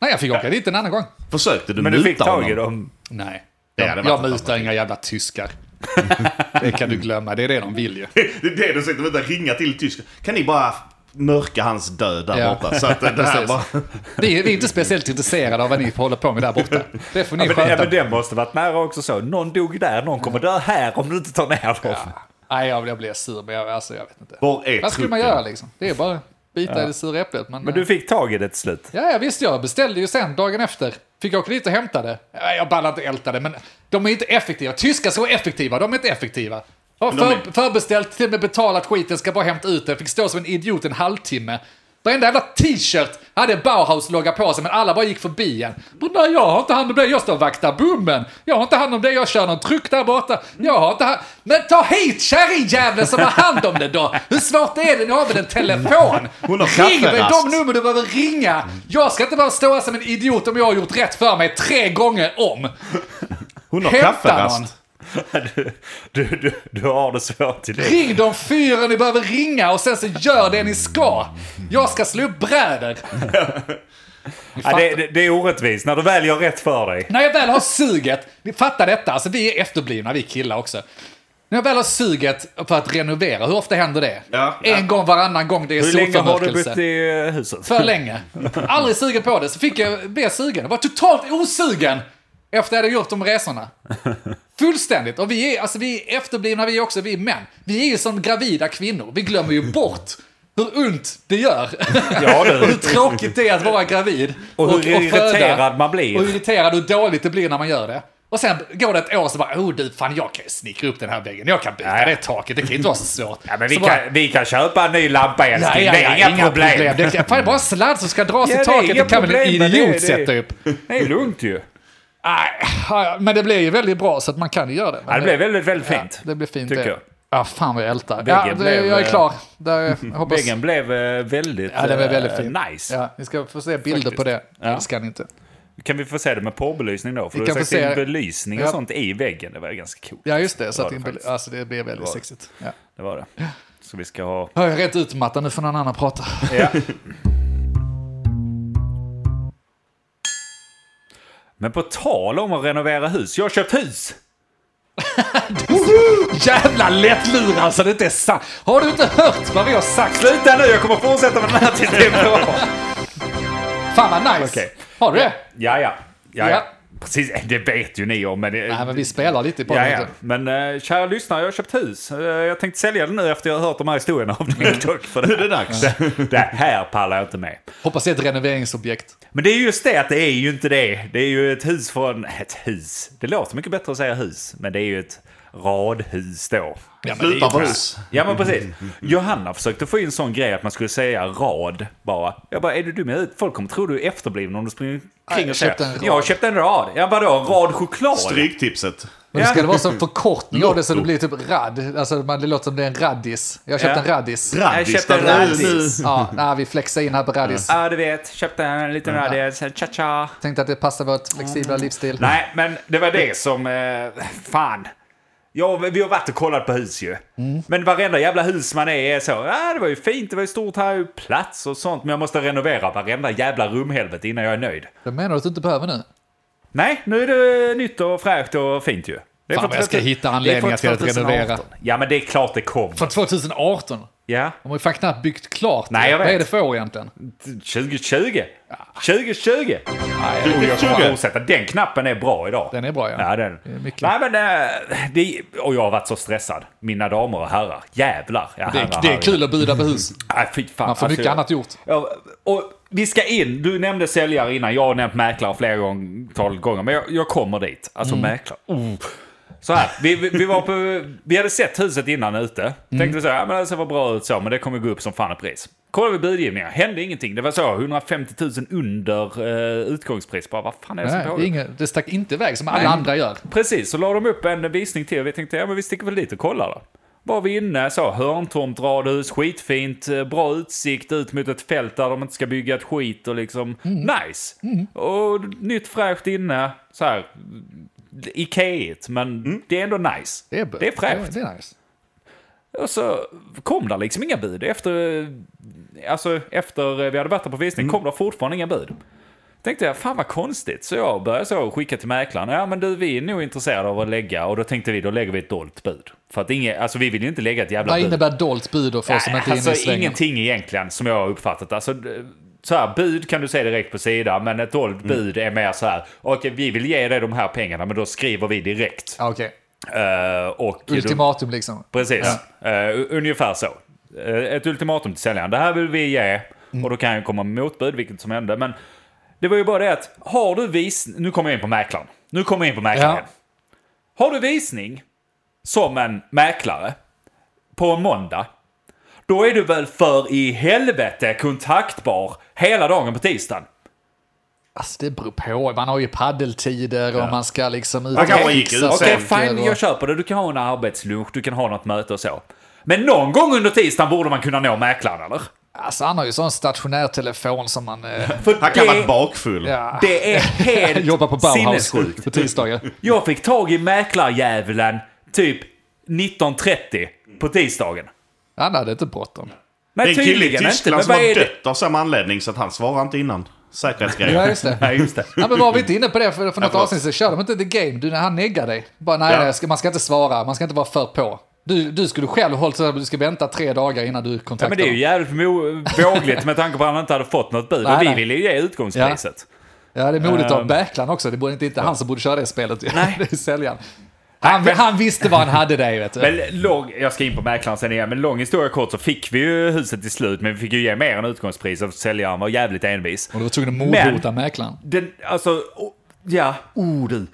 Nej, jag fick åka dit en annan gång.
Försökte du
Men du fick
muta
tag i
honom?
dem.
Nej.
Det
Jag,
hade
jag
varit
mutar inga jävla tyskar. Det kan du glömma, det är det de vill ju.
Det är det du sitter med, att ringa till tysk. Kan ni bara mörka hans död där
Ja.
borta? Så att eh, det här
Precis.
bara...
Vi, vi är inte speciellt intresserade av vad ni håller på med där borta. Det får ni
Men, ja,
sköta.
men det måste varit nära också så. Någon dog där, någon kommer dö här om du inte tar ner dem.
Nej, jag, jag blir sur, men jag, alltså, jag vet inte.
Var är
Vad skulle man
trucken?
göra liksom? Det är bara att bita i det sura äpplet.
Men du fick tag i det till slut.
Ja, ja, visst, jag beställde ju sen dagen efter. Fick åka dit och hämta det. Nej, Jag ballar inte älta det, men de är inte effektiva. Tyskar ska vara effektiva, de är inte effektiva. Har
de
för,
är-
förbeställt, till och med betalat skiten, ska bara hämta ut det. Fick stå som en idiot en halvtimme. Varenda jävla t-shirt hade Bauhaus-logga på sig, men alla bara gick förbi en. Men nej, jag har inte hand om det, jag står och vaktar bommen. Jag har inte hand om det, jag kör någon truck där borta. Jag har inte hand... Men ta hit kärringjäveln som har hand om det då! Hur svårt är det? Ni har väl en telefon?
Hon har
Ring mig
kafferast.
de nummer du behöver ringa. Jag ska inte behöva stå här som en idiot om jag har gjort rätt för mig tre gånger om.
Hon har
Hämta någon.
kafferast.
Du, du, du, du har det svårt i det.
Ring de fyra ni behöver ringa och sen så gör det ni ska. Jag ska slå upp bräder. Ni
Ja,
fattar.
det, det, det är orättvist när du väl gör rätt för dig.
När jag väl har suget, ni fattar detta, alltså vi är efterblivna vi killar också. När jag väl har suget för att renovera, hur ofta händer det?
Ja, ja.
en gång varannan gång det är
Hur länge har du
solförmörkelse.
bott i eh, huset?
För länge. Aldrig sugen på det, så fick jag bli sugen. Jag var totalt osugen efter jag hade gjort de resorna. Fullständigt. Och vi är, alltså, vi är efterblivna vi också, vi är män. Vi är ju som gravida kvinnor. Vi glömmer ju bort hur ont det gör.
Ja,
Och hur
du.
tråkigt det är att vara gravid.
Och hur
föda.
irriterad man
Och
blir.
hur irriterad och hur dåligt det blir när man gör det. Och sen går det ett år så bara, oh du, fan jag kan ju snickra upp den här väggen. Jag kan byta
Nej.
det taket, det kan ju inte vara så svårt.
Ja, men vi,
så bara,
kan, vi kan köpa en ny lampa älskling.
ja,
det
ja,
är inga problem.
Det kan, fan, det är bara en sladd som ska dras
Ja, det
i
är
taket.
inga
Det kan väl en
problem med det,
idiot
det-
sätta upp.
Det är lugnt ju.
Nej, ja, men det blir ju väldigt bra så att man kan ju göra det.
Ja, det blev väldigt, väldigt
ja,
fint.
det blir fint
Tycker
det.
jag.
Ja, fan vad jag ältar.
Väggen
Ja, det,
blev,
jag är
eh,
klar. Där, jag hoppas,
Väggen blev eh, väldigt,
ja, det var väldigt
eh,
fint.
nice.
Ja, vi ska få se bilder på det.
Ja.
Det ska ni inte.
Kan vi få se det med porrbelysning då? För
Vi
du
kan
har sagt
få se-
in belysning och
Ja.
sånt i väggen. Det var ju ganska coolt.
Ja, just det. Så
var
att
det
det, inte-
faktiskt.
alltså, det blev väldigt
Det var det.
sexigt. Ja.
Det var det. Så vi ska ha...
Jag är rätt utmattad, nu får någon annan prata.
Men på tal om att renovera hus. Jag har köpt hus!
Jävla lättlurad alltså, det inte är sant. Har du inte hört vad vi har sagt?
Sluta nu! Jag kommer fortsätta med den här tills det är bra.
Fan vad nice!
Okej.
Har du det?
Ja, ja. ja,
Ja.
ja. Precis, det vet ju ni om. Men, det-
Nej, men vi spelar lite i podden.
ja, ja.
inte?
men eh, kära lyssnare, jag har köpt hus. Eh, jag tänkte sälja det nu efter jag har hört de här historierna av
Mm.
dig. Tack för det.
Det är dags.
det här pallar jag inte med.
Hoppas det är ett renoveringsobjekt.
Men det är just det att det är ju inte det. Det är ju ett hus från... Ett hus. Det låter mycket bättre att säga hus. Men det är ju ett radhus då.
Ja, men det är ju
Sluta på
bra.
hus.
Ja men precis. Johanna försökte få in sån grej att man skulle säga rad bara. Jag bara, är du dum i huvudet? Folk kommer tro du är efterbliven om du springer
Nej,
kring
jag
och säger.
köpte en rad.
Jag köpte en rad. Ja vadå, en rad choklad?
Stryktipset.
Men
Ja.
ska det vara som förkortning av det så det blir typ rad? Alltså man, det låter som det är en raddis. Jag köpte
Ja.
en raddis.
Jag
Raddis.
köpte en
där-
raddis.
Ja, nej, vi flexar in här på raddis.
Ja du vet, köpte en liten
Mm.
rad. Cha-cha.
Tänkte att det passar vårt flexibla livsstil.
Nej men det var det som, eh, fan. Ja, vi har varit och kollat på hus ju. Men varenda jävla hus man är i är så, ah, det var ju fint, det var ju stort, här är ju plats och sånt. Men jag måste renovera varenda jävla rumhelvete innan jag är nöjd.
Det menar du att du inte behöver nu?
Nej, nu är det nytt och fräscht och fint ju. Det är
Fan,
från
vad jag ska
30
hitta
det är
anledningar
från
till att renovera.
2018. Ja, men det är klart det kommer.
Från 2018?
Ja.
De har ju fan knappt byggt klart. det.
Nej, jag vet.
Vad är det för år egentligen?
2020. 2020.
Nej,
Oh, jag kommer
2020.
fortsätta. Den knappen är bra idag.
Den är bra, ja.
Ja, den.
Det är mycket.
Nej, men eh, det... Och jag har varit så stressad. Mina damer och herrar. Jävlar. Ja,
det,
herrar,
är, det är
herrar.
kul att buda på hus.
Nej, fy fan.
Man får mycket
jag-
annat gjort.
Ja, och vi ska in. Du nämnde säljare innan. Jag har nämnt mäklare flera gånger, tolv gånger. Men jag, jag kommer dit. Alltså
Mm.
mäklare. Oh. Så här, vi, vi, vi, var på, vi hade sett huset innan ute.
Mm.
Tänkte så här, ja, men det ser vad bra ut så, men det kommer gå upp som fan i pris. Kollade vi budgivningar, hände ingenting. Det var så 150 000 under eh, utgångspris. Bara, vad fan är det som
Nej, det, är
pågår?
inget, det stack inte iväg som alla andra gör.
Precis, så la de upp en visning till. Vi tänkte, ja men vi sticker väl dit och kollar då. Var vi inne, så hörntomt radhus, skitfint, eh, bra utsikt ut mot ett fält där de inte ska bygga ett skit och liksom
Mm.
nice. Och nytt fräscht inne, så här Ikeaigt, men det är ändå nice.
Mm. Det är, bra.
det är fräscht.
Det är nice.
Och så kom där liksom inga bud. Efter, alltså, efter vi hade varit där på visning
Mm.
kom det fortfarande inga bud. Tänkte jag, fan vad konstigt. Så jag började så skicka till mäklaren. Ja men du, vi är nog intresserade av att lägga. Och då tänkte vi, då lägger vi ett dolt bud. För att inget, alltså vi vill ju inte lägga ett jävla
Vad
bud.
innebär dolt bud då för oss som inte är inne i
alltså
svängen?
ingenting egentligen som jag har uppfattat. Alltså, d- så här, bud kan du se direkt på sidan, men ett
Mm.
dolt bud är mer så här. Okej, vi vill ge dig de här pengarna, men då skriver vi direkt.
Ja, Okej,
Eh, och då-
ultimatum liksom.
Precis. Eh, ungefär så. Eh, ett ultimatum till säljaren. Det här vill vi ge. Och då kan ju komma motbud, vilket som hände. Men det var ju bara det att har du vis... Nu kommer jag in på mäklaren. Nu kommer jag in på mäklaren.
Ja.
Har du visning som en mäklare på en måndag. Då är du väl för i helvete kontaktbar hela dagen på tisdagen.
Alltså det beror på, man har ju paddeltider och man ska liksom ut
Man kanske
och
gick
fixa
ut
Okej,
sen.
saker
fine,
och-
jag köper det. Du kan ha en arbetslunch, du kan ha något möte och så. Men någon gång under tisdagen borde man kunna nå mäklaren, eller?
Alltså han har ju sån stationär telefon som man... Eh,
För
Han kan vara bakfull.
ja.
Det är helt
Jobbar på Bauhaus
sinnessjukt.
på tisdagar.
Jag fick tag i mäklarjävulen typ 19.30 på tisdagen.
Han hade inte bråttom.
Nej,
Det är en kille i
tydligen inte.
Tyskland
Men
som
vad är
har
det?
dött av samma anledning så att han svarar inte innan.
Ja,
Säkerhetsgrejer.
just det.
Nej, just det.
Ja, men var vi inte inne på det för, för något
förlåt.
avsnitt så körde de inte the game. Du, när han neggar dig. Bara nej,
Ja.
nej, ska- man ska inte svara, man ska inte vara för på. Du, du skulle själv hållit så att du ska vänta tre dagar innan du kontaktar
Ja, men det är ju
dem.
jävligt mo- vågligt med tanke på att han inte hade fått något bud.
Nej,
Och vi
nej.
ville ju ge utgångspriset.
Ja, det är modigt av
Ehm.
Bäckland också. Det borde inte inte han som borde köra det spelet.
Nej.
det är säljaren. Han, han visste vad han hade där vet du.
Men lång, jag ska in på mäklaren sen igen, men lång historia kort så fick vi ju huset till slut, men vi fick ju ge mer än utgångspris och säljaren var jävligt envis.
Och du var tvungen att mordhota mäklaren.
Den, alltså, o- ja, oh du.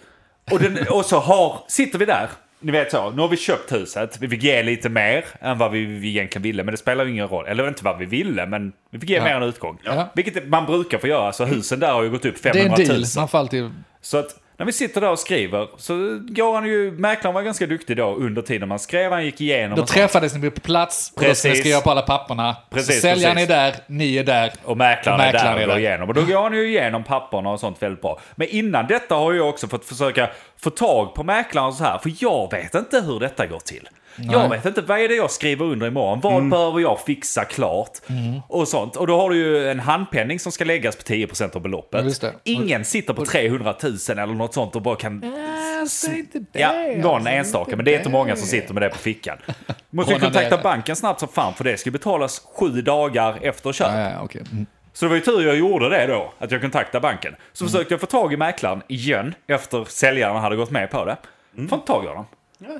Och, den, och så har, sitter vi där, ni vet så, nu har vi köpt huset, vi fick ge lite mer än vad vi, vi egentligen ville, men det spelar ju ingen roll. Eller inte vad vi ville, men vi fick ge mer än utgång.
Ja.
Vilket man brukar få göra, så husen där har ju gått upp
Det är
500 000.
en deal. Man får alltid...
Så att när vi sitter där och skriver så går han ju, mäklaren var ganska duktig då under tiden man skrev, han gick igenom
Då
och, så.
träffades ni på plats, och då ska ni
Precis.
skriva på alla papperna.
Precis,
så säljaren
precis.
är där, ni är där.
och mäklaren,
och mäklaren
är där
är
och går
där.
igenom. Och då går han ju igenom papperna och sånt väldigt bra. Men innan detta har jag också fått försöka få tag på mäklaren och så här, för jag vet inte hur detta går till. Jag vet inte, vad är det jag skriver under imorgon? Vad
Mm.
behöver jag fixa klart? Och sånt. Och då har du ju en handpenning som ska läggas på 10% av
Ja, just
beloppet.
det.
Ingen sitter på 300 000 eller något sånt och bara kan
Säg Alltså, inte det.
Ja, någon enstaka, men det är inte många som sitter med det på fickan. Måste ju
Kolla
kontakta
det.
banken snabbt som fan, för det ska betalas sju dagar efter köp.
Ja, ja, okej. Mm.
Så det var ju tur jag gjorde det då, att jag kontaktade banken. Så försökte jag få tag i mäklaren igen, efter säljaren hade gått med på det. Får inte tag i honom.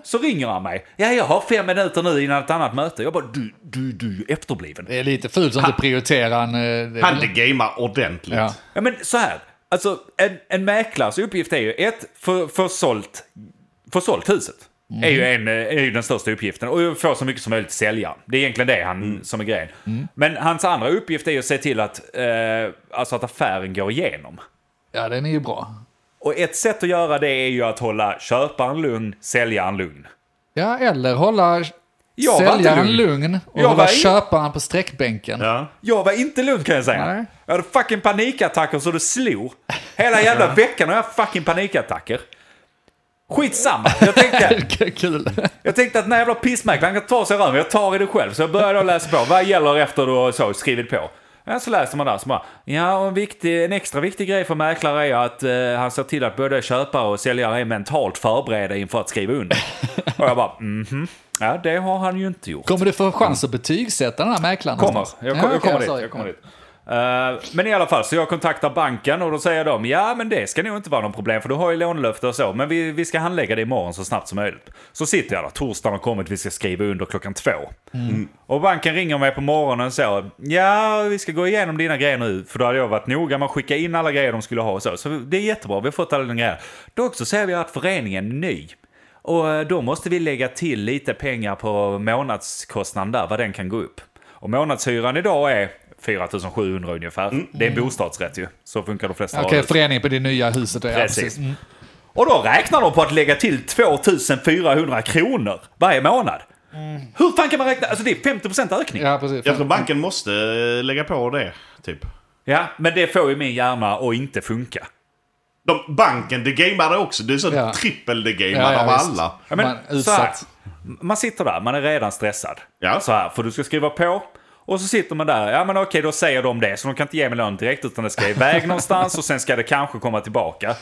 Så ringer han mig. Ja, jag har fem minuter nu innan ett annat möte. Jag bara, du, du, du är efterbliven.
Det är lite fult att inte prioritera en... eh, det-
Han gamear ordentligt.
Ja.
Ja, men så här. Alltså, en, en mäklares uppgift är ju ett, få för, sålt, för sålt huset. Är, ju en, eh, är ju den största uppgiften. Och få så mycket som möjligt sälja. Det är egentligen det han som är grejen. Men hans andra uppgift är ju att se till att, eh, alltså att affären går igenom.
ja, den är ju bra.
Och ett sätt att göra det är ju att hålla köparen lugn, säljaren lugn.
Ja, eller hålla
Jag var inte
säljaren
lugn.
lugn och
Jag
hålla
var in-
köparen på sträckbänken.
Ja.
Jag var inte lugn kan jag säga.
Nej.
Jag hade fucking panikattacker så det slog. Hela jävla veckan har jag fucking panikattacker. Skitsamma, jag tänkte...
Kul.
Jag tänkte att när jävla pissmäklaren kan ta sig röven, jag tar i det själv. Så jag började att läsa på. Vad gäller efter du har så skrivit på? Ja, så läser man där så bara, ja och en, viktig, en extra viktig grej för mäklare är att eh, han ser till att både köpare och säljare är mentalt förberedda inför att skriva under. Och jag bara, mhm, ja det har han ju inte gjort.
Kommer du få chans att betygsätta den här mäklaren?
Kommer,
någonstans?
jag,
Ja,
kom, jag
okej,
kommer dit.
sorry.
Jag kommer dit. Eh, men i alla fall, så jag kontaktar banken och då säger de ja men det ska nog inte vara någon problem för du har ju lånelöfte och så men vi, vi ska handlägga det imorgon så snabbt som möjligt. Så sitter jag där, torsdagen har kommit, vi ska skriva under klockan två. Och banken ringer mig på morgonen så ja vi ska gå igenom dina grejer nu för då hade jag varit noga med att skicka in alla grejer de skulle ha och så. Så det är jättebra, vi har fått alla dina grejer. Dock så ser vi att föreningen är ny. Och eh, då måste vi lägga till lite pengar på månadskostnaden där, vad den kan gå upp. Och månadshyran idag är 4700 ungefär. Det är bostadsrätt ju. Så funkar de flesta
Mm. Okej,
av det.
föreningen på det nya huset. ja, Mm.
Precis. Och då räknar de på att lägga till 2400 kronor varje månad.
Mm.
Hur fan kan man räkna? Alltså det är 50% ökning. Ja.
Ja, precis.
Jag tror banken måste eh, lägga på det, typ.
men det får ju min hjärna att inte funka.
De, banken de gamade också. Du är så
Ja.
trippel de gamad
Ja, ja,
av
visst.
alla.
Ja, men,
Man är
så här,
utsatt.
man sitter där, man är redan stressad.
Ja.
Så här, för du ska skriva på. Och så sitter man där, ja men okej då säger de det, så de kan inte ge mig lön direkt utan det ska iväg någonstans och sen ska det kanske komma tillbaka.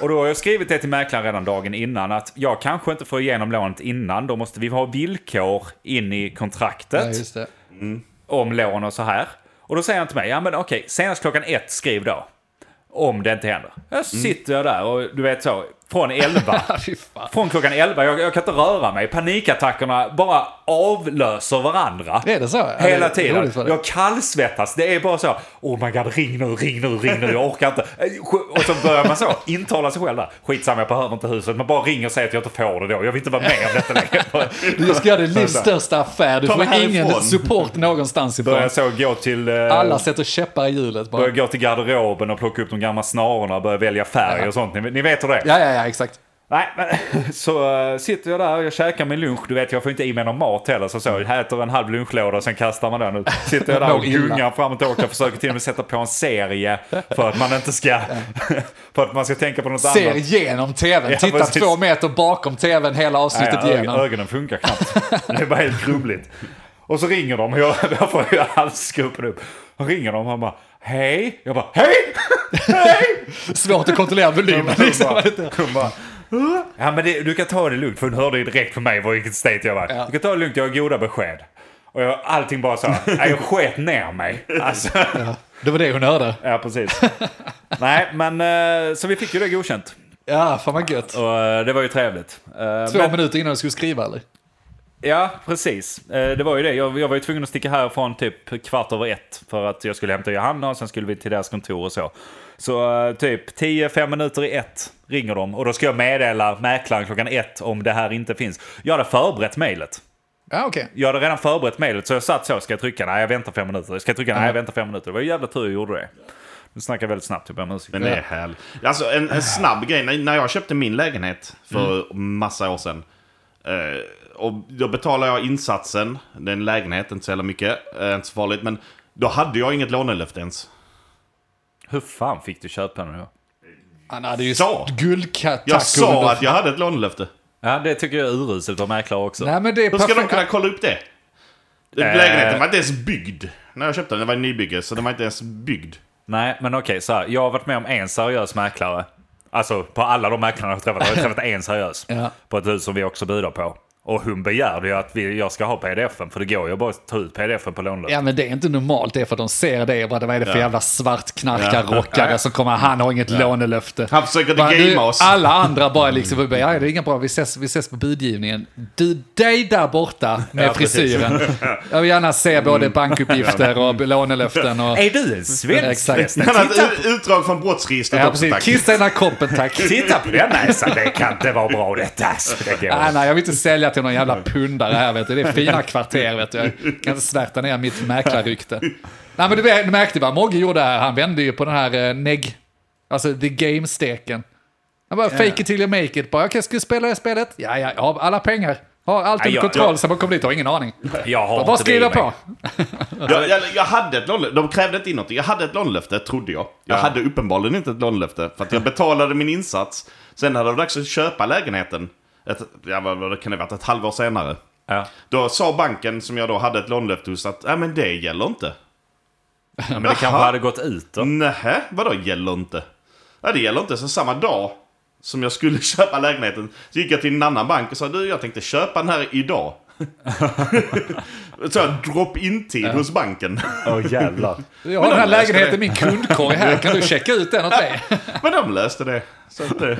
Och då har jag skrivit det till mäklaren redan dagen innan att jag kanske inte får igenom lånet innan, då måste vi ha villkor in i
Ja,
kontraktet
just det.
om lån och så här. Och då säger han till mig, ja men okej, senast klockan ett skriv då. Om det inte händer. Ja,
Mm.
Så sitter jag där och du vet så, från 11
Ja, fy fan.
från klockan 11, jag, jag kan inte röra mig. Panikattackerna bara avlöser varandra.
Är det så? Ja,
Hela
det är
tiden.
roligt för dig.
Jag kallsvettas. Det är bara så. Oh my god, ring nu, ring nu, ring nu. Jag orkar inte. Eh, sk- Och så börjar man så intala sig själv där. Skitsamma, jag behöver inte huset. Man bara ringer och säger att jag inte får det då. Jag vill inte vara med om detta längre.
Du ska göra din livs största affär. Du
Ta
får
mig härifrån.
ingen support någonstans ifrån.
Börjar så gå till... eh,
Alla sätter käppar i hjulet bara.
Börjar gå till garderoben och plocka upp de gamla snarorna och börja välja färg och sånt. Ni, ni vet hur det är.
Ja, ja, ja, exakt.
Nej, men så eh, sitter jag där och jag käkar min lunch. Du vet, jag får inte i mig någon mat heller. Så, så jag äter en halv lunchlåda och sen kastar man den. ut. Sitter jag där och
Mår illa.
gungar fram och tillbaka. Försöker till och med sätta på en serie för att man inte ska... För att man ska tänka på något
Ser
annat.
genom tvn.
Ja,
Titta
precis.
två meter bakom tvn hela avsnittet
Nej,
igenom.
ö- ögonen funkar knappt. Det är bara helt grumligt. Och så ringer de och jag, jag får ju halsgropen upp. Och ringer de och bara hej. Jag bara hej! Hej!
Svårt att kontrollera volymen. liksom.
Hon bara, ja men det, du kan ta det lugnt för hon hörde ju direkt på mig vad- vilket state jag var.
Ja.
Du kan ta det lugnt, jag har goda besked. Och jag, allting bara så, här, jag sket ner mig. Alltså,
Det var det hon hörde.
ja precis. Nej men eh, så vi fick ju det godkänt.
Ja, fan vad gött.
Och eh, det var ju trevligt. Eh,
Två
men-
minuter innan du skulle skriva eller?
Ja, precis. Eh, Det var ju det. Jag, jag var ju tvungen att sticka härifrån typ kvart över ett för att jag skulle hämta Johanna och sen skulle vi till deras kontor och så. Så eh, typ 10-5 minuter i ett ringer de och då ska jag meddela mäklaren klockan ett om det här inte finns. Jag hade förberett mejlet.
Ja, okej.
Jag hade redan förberett mejlet så jag satt så. Ska jag trycka? Nej, jag väntar fem minuter. Ska jag trycka? Nej, jag väntar fem minuter. Det var ju jävla tur jag gjorde det. Nu snackar jag väldigt snabbt. Jag ber om ursäkt.
Den är härlig. Alltså en, en snabb grej. När- När jag köpte min lägenhet för
Mm.
massa år sedan. eh, Och då betalade jag insatsen. Det är en lägenhet, inte så jävla mycket. eh, Inte så farligt. Men då hade jag inget lånelöfte ens.
Hur fan fick du köpa den då?
Han hade ju
Sa.
guldkatt.
Jag sa att jag hade ett lånelöfte.
Ja, det tycker jag är uruselt av mäklare också.
Nej men det är
Hur ska de
perfekt.
kunna kolla upp det? Den
Eh.
Lägenheten var inte ens byggd. När jag köpte den, det var en nybygge, så den var inte ens byggd.
Nej, men okej, så här. Jag har varit med om en seriös mäklare. Alltså på alla de mäklarna jag har träffat. Jag har träffat en seriös.
Ja.
På ett hus som vi också bjuder på. Och hon begärde ju att vi, jag ska ha pdf-en. För det går ju bara att ta ut pdf-en på lånelöften.
Ja men det är inte normalt, det är för att de ser det och bara, vad är det för jävla svartknarkarrockare
Ja.
som kommer, han har inget lånelöfte.
Han försöker
Bara, du,
gamea oss.
Alla andra bara liksom, bara, ja det är inga bra, vi ses, vi ses på budgivningen. Du, dig där borta med
Ja, precis.
frisyren. Jag vill gärna se både
Mm.
bankuppgifter och lånelöften och...
Är du en svensk
Exakt.
förresten?
Han hade
Titta,
ett ut- utdrag från brottsregistret
Ja,
också,
precis.
tack.
Kissa i den här koppen tack.
titta på den näsan, alltså, det kan inte vara bra detta. alltså. Det går.
Nej, nej, jag vill inte sälja till någon jävla pundare här vet du. Det är fina kvarter vet du. Jag kan inte svärta ner mitt mäklarrykte. Nej, men du, vet- du märkte vad Mogge gjorde här. Han vände ju på den här eh, neg... Alltså the game-steken. Han bara fake it till you make it. Bara okej, ska du spela det spelet? Ja, ja, jag har alla pengar. Har allt
Nej,
under
jag-
kontroll.
jag-
Sen bara kom dit och har ingen aning.
Jag har
Bara
inte det i
skriva
mig.
på.
Jag, jag, jag hade ett lånelöfte. De krävde inte in någonting. Jag hade ett lånelöfte, trodde jag. Jag hade uppenbarligen inte ett lånelöfte. För att jag betalade min insats. Sen hade det varit dags att köpa lägenheten. Ett, ja, vad, vad kan det ha varit? Ett halvår senare.
Ja.
Då sa banken som jag då hade ett lånelöfte hos att nej men det gäller inte.
Ja, Men det kanske hade gått ut då.
Nähä, vadå gäller inte? Ja, det gäller inte. Så samma dag som jag skulle köpa lägenheten så gick jag till en annan bank och sa du jag tänkte köpa den här idag. så jag drop-in-tid hos banken.
Åh jävlar.
Jag har den här
de löste
lägenheten i
det.
min kundkorg här. Kan du checka ut den åt mig?
Men de löste det. Så att, eh,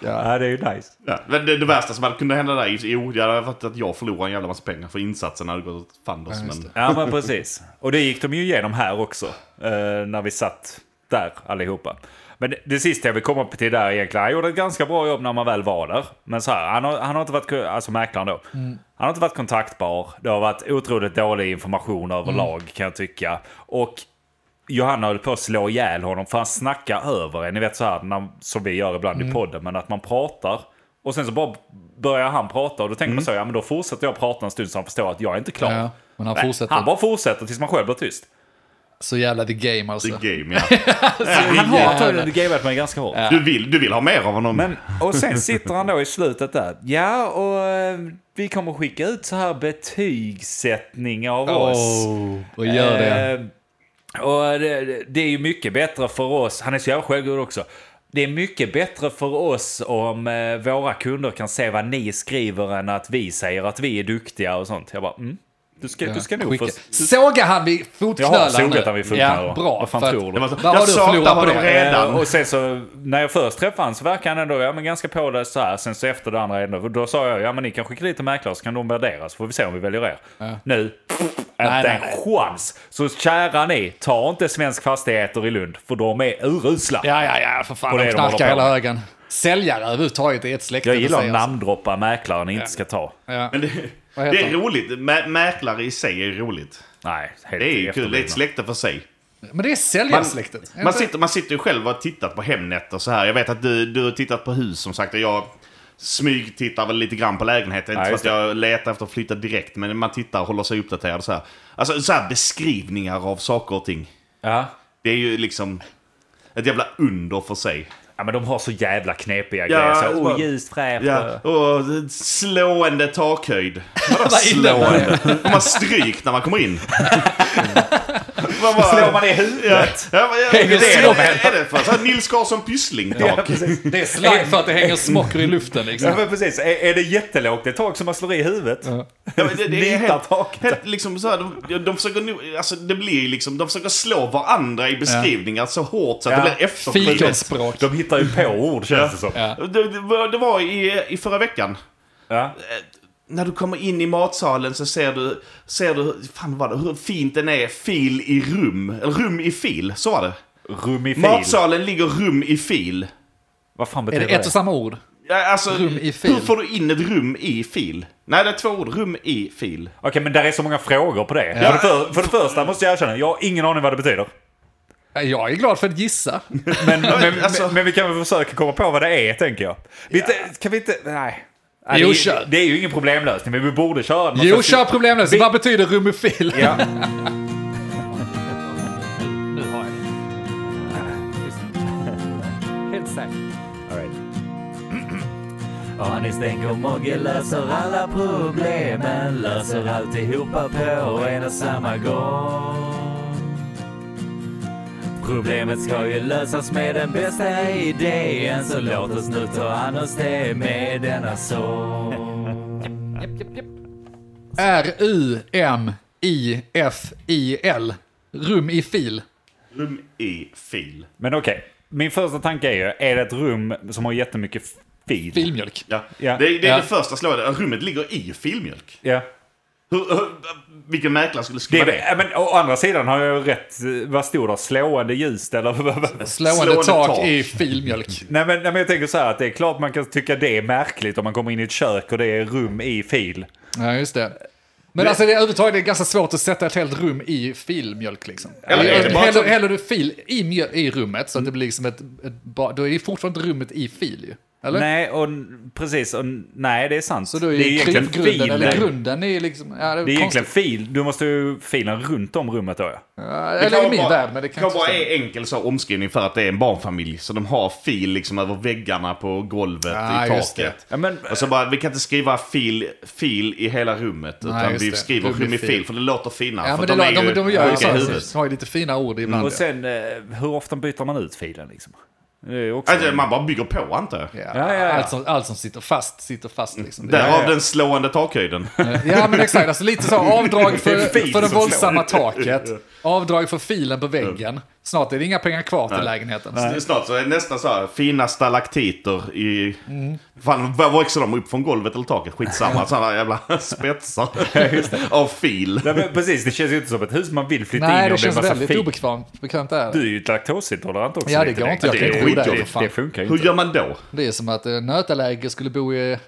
Ja, det är ju nice.
ja. Men det, det värsta som hade kunnat hända där, jo det hade varit att jag förlorar en jävla massa pengar för insatsen hade gått åt fanders. men
Ja, men precis. Och det gick de ju igenom här också. eh, När vi satt där allihopa. Men det- det sista jag vill komma upp till där egentligen. Han gjorde ett ganska bra jobb när man väl var där. Men så här, han har, han har inte varit, ko- alltså mäklaren då. Han har inte varit kontaktbar. Det har varit otroligt dålig information överlag kan jag tycka. Och Johanna höll på att slå ihjäl honom för han snackar över en. Ni vet så här när, som vi gör ibland i podden. Men att man pratar och sen så bara börjar han prata. Och då tänker man så, ja men då fortsätter jag prata en stund så han förstår att jag är inte klar.
Ja, men han
Nej,
fortsätter.
Han bara fortsätter tills man själv blir tyst.
Så jävla the game alltså.
The game ja.
Han har
jävlar.
antagligen gameat mig ganska hårt.
Du vill, du vill ha mer av honom.
Men, och sen sitter han då i slutet där. Ja, och eh, vi kommer skicka ut så här betygssättning av oss.
Åh, och gör det.
Eh, Och det, det- det är ju mycket bättre för oss. Han är så jävla självgod också. Det är mycket bättre för oss om eh, våra kunder kan se vad ni skriver än att vi säger att vi är duktiga och sånt. Jag bara, mm. Du ska, du ska nog
Skicka-
få...
Sågar han vid fotknölarna?
Jag har sågat han vid fotknölarna.
Ja, bra.
Vad fan
för att-
tror du?
Det var så,
Vad har
jag
du förlorat
saknar
på
honom
det?"
redan.
Eh, Och sen så när jag först träffade honom så verkade han ändå ja, men ganska påläst så här. Sen så efter det andra ändå. Då sa jag ja men ni kan skicka dit en mäklare så kan de värdera så får vi se om vi väljer er. Nu, pff,
nej,
inte en
nej.
chans. Så kära ni, ta inte Svensk Fastigheter i Lund för de är urusla.
Ja, ja, ja, för fan.
Och det
De
är de
knarkar
håller på
hela
med.
högen. Säljare överhuvudtaget är ett släkte.
Jag
det
gillar
säger
att
oss.
namndroppa mäklare ni inte ska ta.
Ja.
Men det,
Vad heter
det är
han?
roligt. Mä- mäklare i sig är roligt.
Nej, helt
Det är ju kul.
efterblivna.
Det är ett släkte för sig.
Men det är säljarsläktet.
Man sitter, man sitter ju själv och har tittat på Hemnet och så här. Jag vet att du, du har tittat på hus som sagt. och Jag smygtittar väl lite grann på lägenheten.
Ja,
inte för
just
att jag letar efter att flytta direkt. Men man tittar och håller sig uppdaterad och så här. Alltså så här beskrivningar av saker och ting.
Ja.
Det är ju liksom ett jävla under för sig.
ja, men de har så jävla knepiga
Ja,
grejer. Så,
det är
oh,
bara-
ljust, fräscht.
Ja, och slående takhöjd. Vadå
Vad innebär
slående? Får man stryk när man kommer in? Vad var
Slår man i huvudet?
Ja, men, jag-
Hänger
det,
slå-
är, är det för så här, Nils Karlsson Pyssling-tak?
precis.
Det är slime för att det hänger smockor i luften
Ja,
liksom.
men precis. Är, är det jättelågt ett tak som man slår i huvudet?
Ja, men det, det är helt,
Nitartak.
helt liksom så här, de, de försöker nu, alltså det blir ju liksom, de försöker slå varandra i beskrivningar så hårt så att
Ja.
det blir efterskrivet.
Fikonspråk.
De hittar ju på ord känns det som.
Ja.
Det, det var- det var i, i förra veckan.
Ja.
När du kommer in i matsalen så ser du, ser du fan vad det, hur fint den är, fil i rum. Eller rum i fil, så var det.
Rumifil.
Matsalen ligger rum i fil.
Vad fan
Är
betyder
det ett och samma ord?
Ja, Alltså,
Rum i fil.
hur får du in ett rum i fil? Nej, det är två ord. Rum i fil.
Okej, men där är så många frågor på det. För, det för, för det första måste jag erkänna, jag har ingen aning vad det betyder.
Jag är glad för att gissa.
Men, men,
alltså-
men, men vi kan väl försöka komma på vad det är, tänker jag. Vi, inte- Kan vi inte... Nej. Nej,
Jo,
det, är
kör.
ju- det är ju ingen problemlösning, men vi borde köra något
Jo,
slags-
kör problemlöst.
Vi-
Vad betyder rumofil?
Ja.
Nu har jag det. Helt säkert.
Anis tänker och Mogge löser alla problemen Löser alltihopa på en och samma gång Problemet ska ju lösas med den bästa idén Så låt oss nu ta an oss det med denna sång
R-U-M-I-F-I-L. Rum i fil.
Rum i fil.
Men okej, min första tanke är ju, är det ett rum som har jättemycket fil?
Filmjölk.
Ja.
Ja.
Det, det är
Ja.
det första slaget. Rummet ligger i filmjölk.
Ja.
Hur, hur, vilken mäklare skulle
Det
skriva
är det.
det?
Ja, Men, å andra sidan har jag ju rätt, eh, vad stod det? Slående ljus eller? vad- vad-
Slående
Slående
tak
tak.
i filmjölk.
Nej men, nej men jag tänker så här att det är klart man kan tycka det är märkligt om man kommer in i ett kök och det är rum i fil.
Ja, just det. Men alltså det, är överhuvudtaget det är ganska svårt att sätta ett helt rum i filmjölk liksom.
Eller är det bara
häller,
som-
häller du fil i, mjöl- i rummet så att det blir liksom ett, ett ba- då är ju fortfarande rummet i fil ju. Eller?
Nej, och n- precis. Och, n- nej, det är sant.
Så då är
det är
ju
egentligen
krypgrunden,
filen.
eller grunden är ju liksom... Ja, det är,
Det är egentligen
konstigt.
fil. Du måste ju filen runt om rummet då ja.
Ja,
Det
Eller i min värld, men det kan inte
vara
stämma.
en enkel så omskrivning för att det är en barnfamilj. Så de har fil liksom över väggarna på golvet,
Ah,
i
just
taket.
ja men,
Och så bara, vi kan inte skriva fil, fil i hela rummet. utan
Ah, just
vi
det.
skriver
Rum i
rum i
fil.
fil, för det låter finare.
Ja,
för
men det, de,
är
de,
ju
de gör ju
sjuka i
så.
huvudet.
så Har ju lite fina ord ibland.
och sen, eh, hur ofta byter man ut filen liksom? Det är också...
Alltså, Man bara bygger på, antar jag.
Ja,
Ja, ja, ja.
Allt, som, allt som sitter fast sitter fast liksom.
Därav
Ja, ja.
den slående takhöjden.
Ja men exakt, alltså lite så avdrag för,
Det är fil
för det
som
våldsamma taket. Avdrag för filen på väggen. Snart är det inga pengar kvar till lägenheten.
Snart så är det nästan så här, fina stalaktiter i... Fan, vad växer de upp från golvet eller taket? Skitsamma, sådana jävla spetsar av fil.
Nej, men, precis, det känns ju inte som ett hus man vill flytta in i
Nej,
om
det
det är
känns
massa
väldigt
fil.
obekvämt. Bekvämt det
Du
är.
är ju laktosintolerant också.
Ja, det
vet
går
du.
inte. Jag
Det
kan
är
inte bo där. för
skitjobbigt.
fan.
Det funkar ju
Hur
inte.
gör man då?
Det är som att eh, nötäläge skulle bo i eh,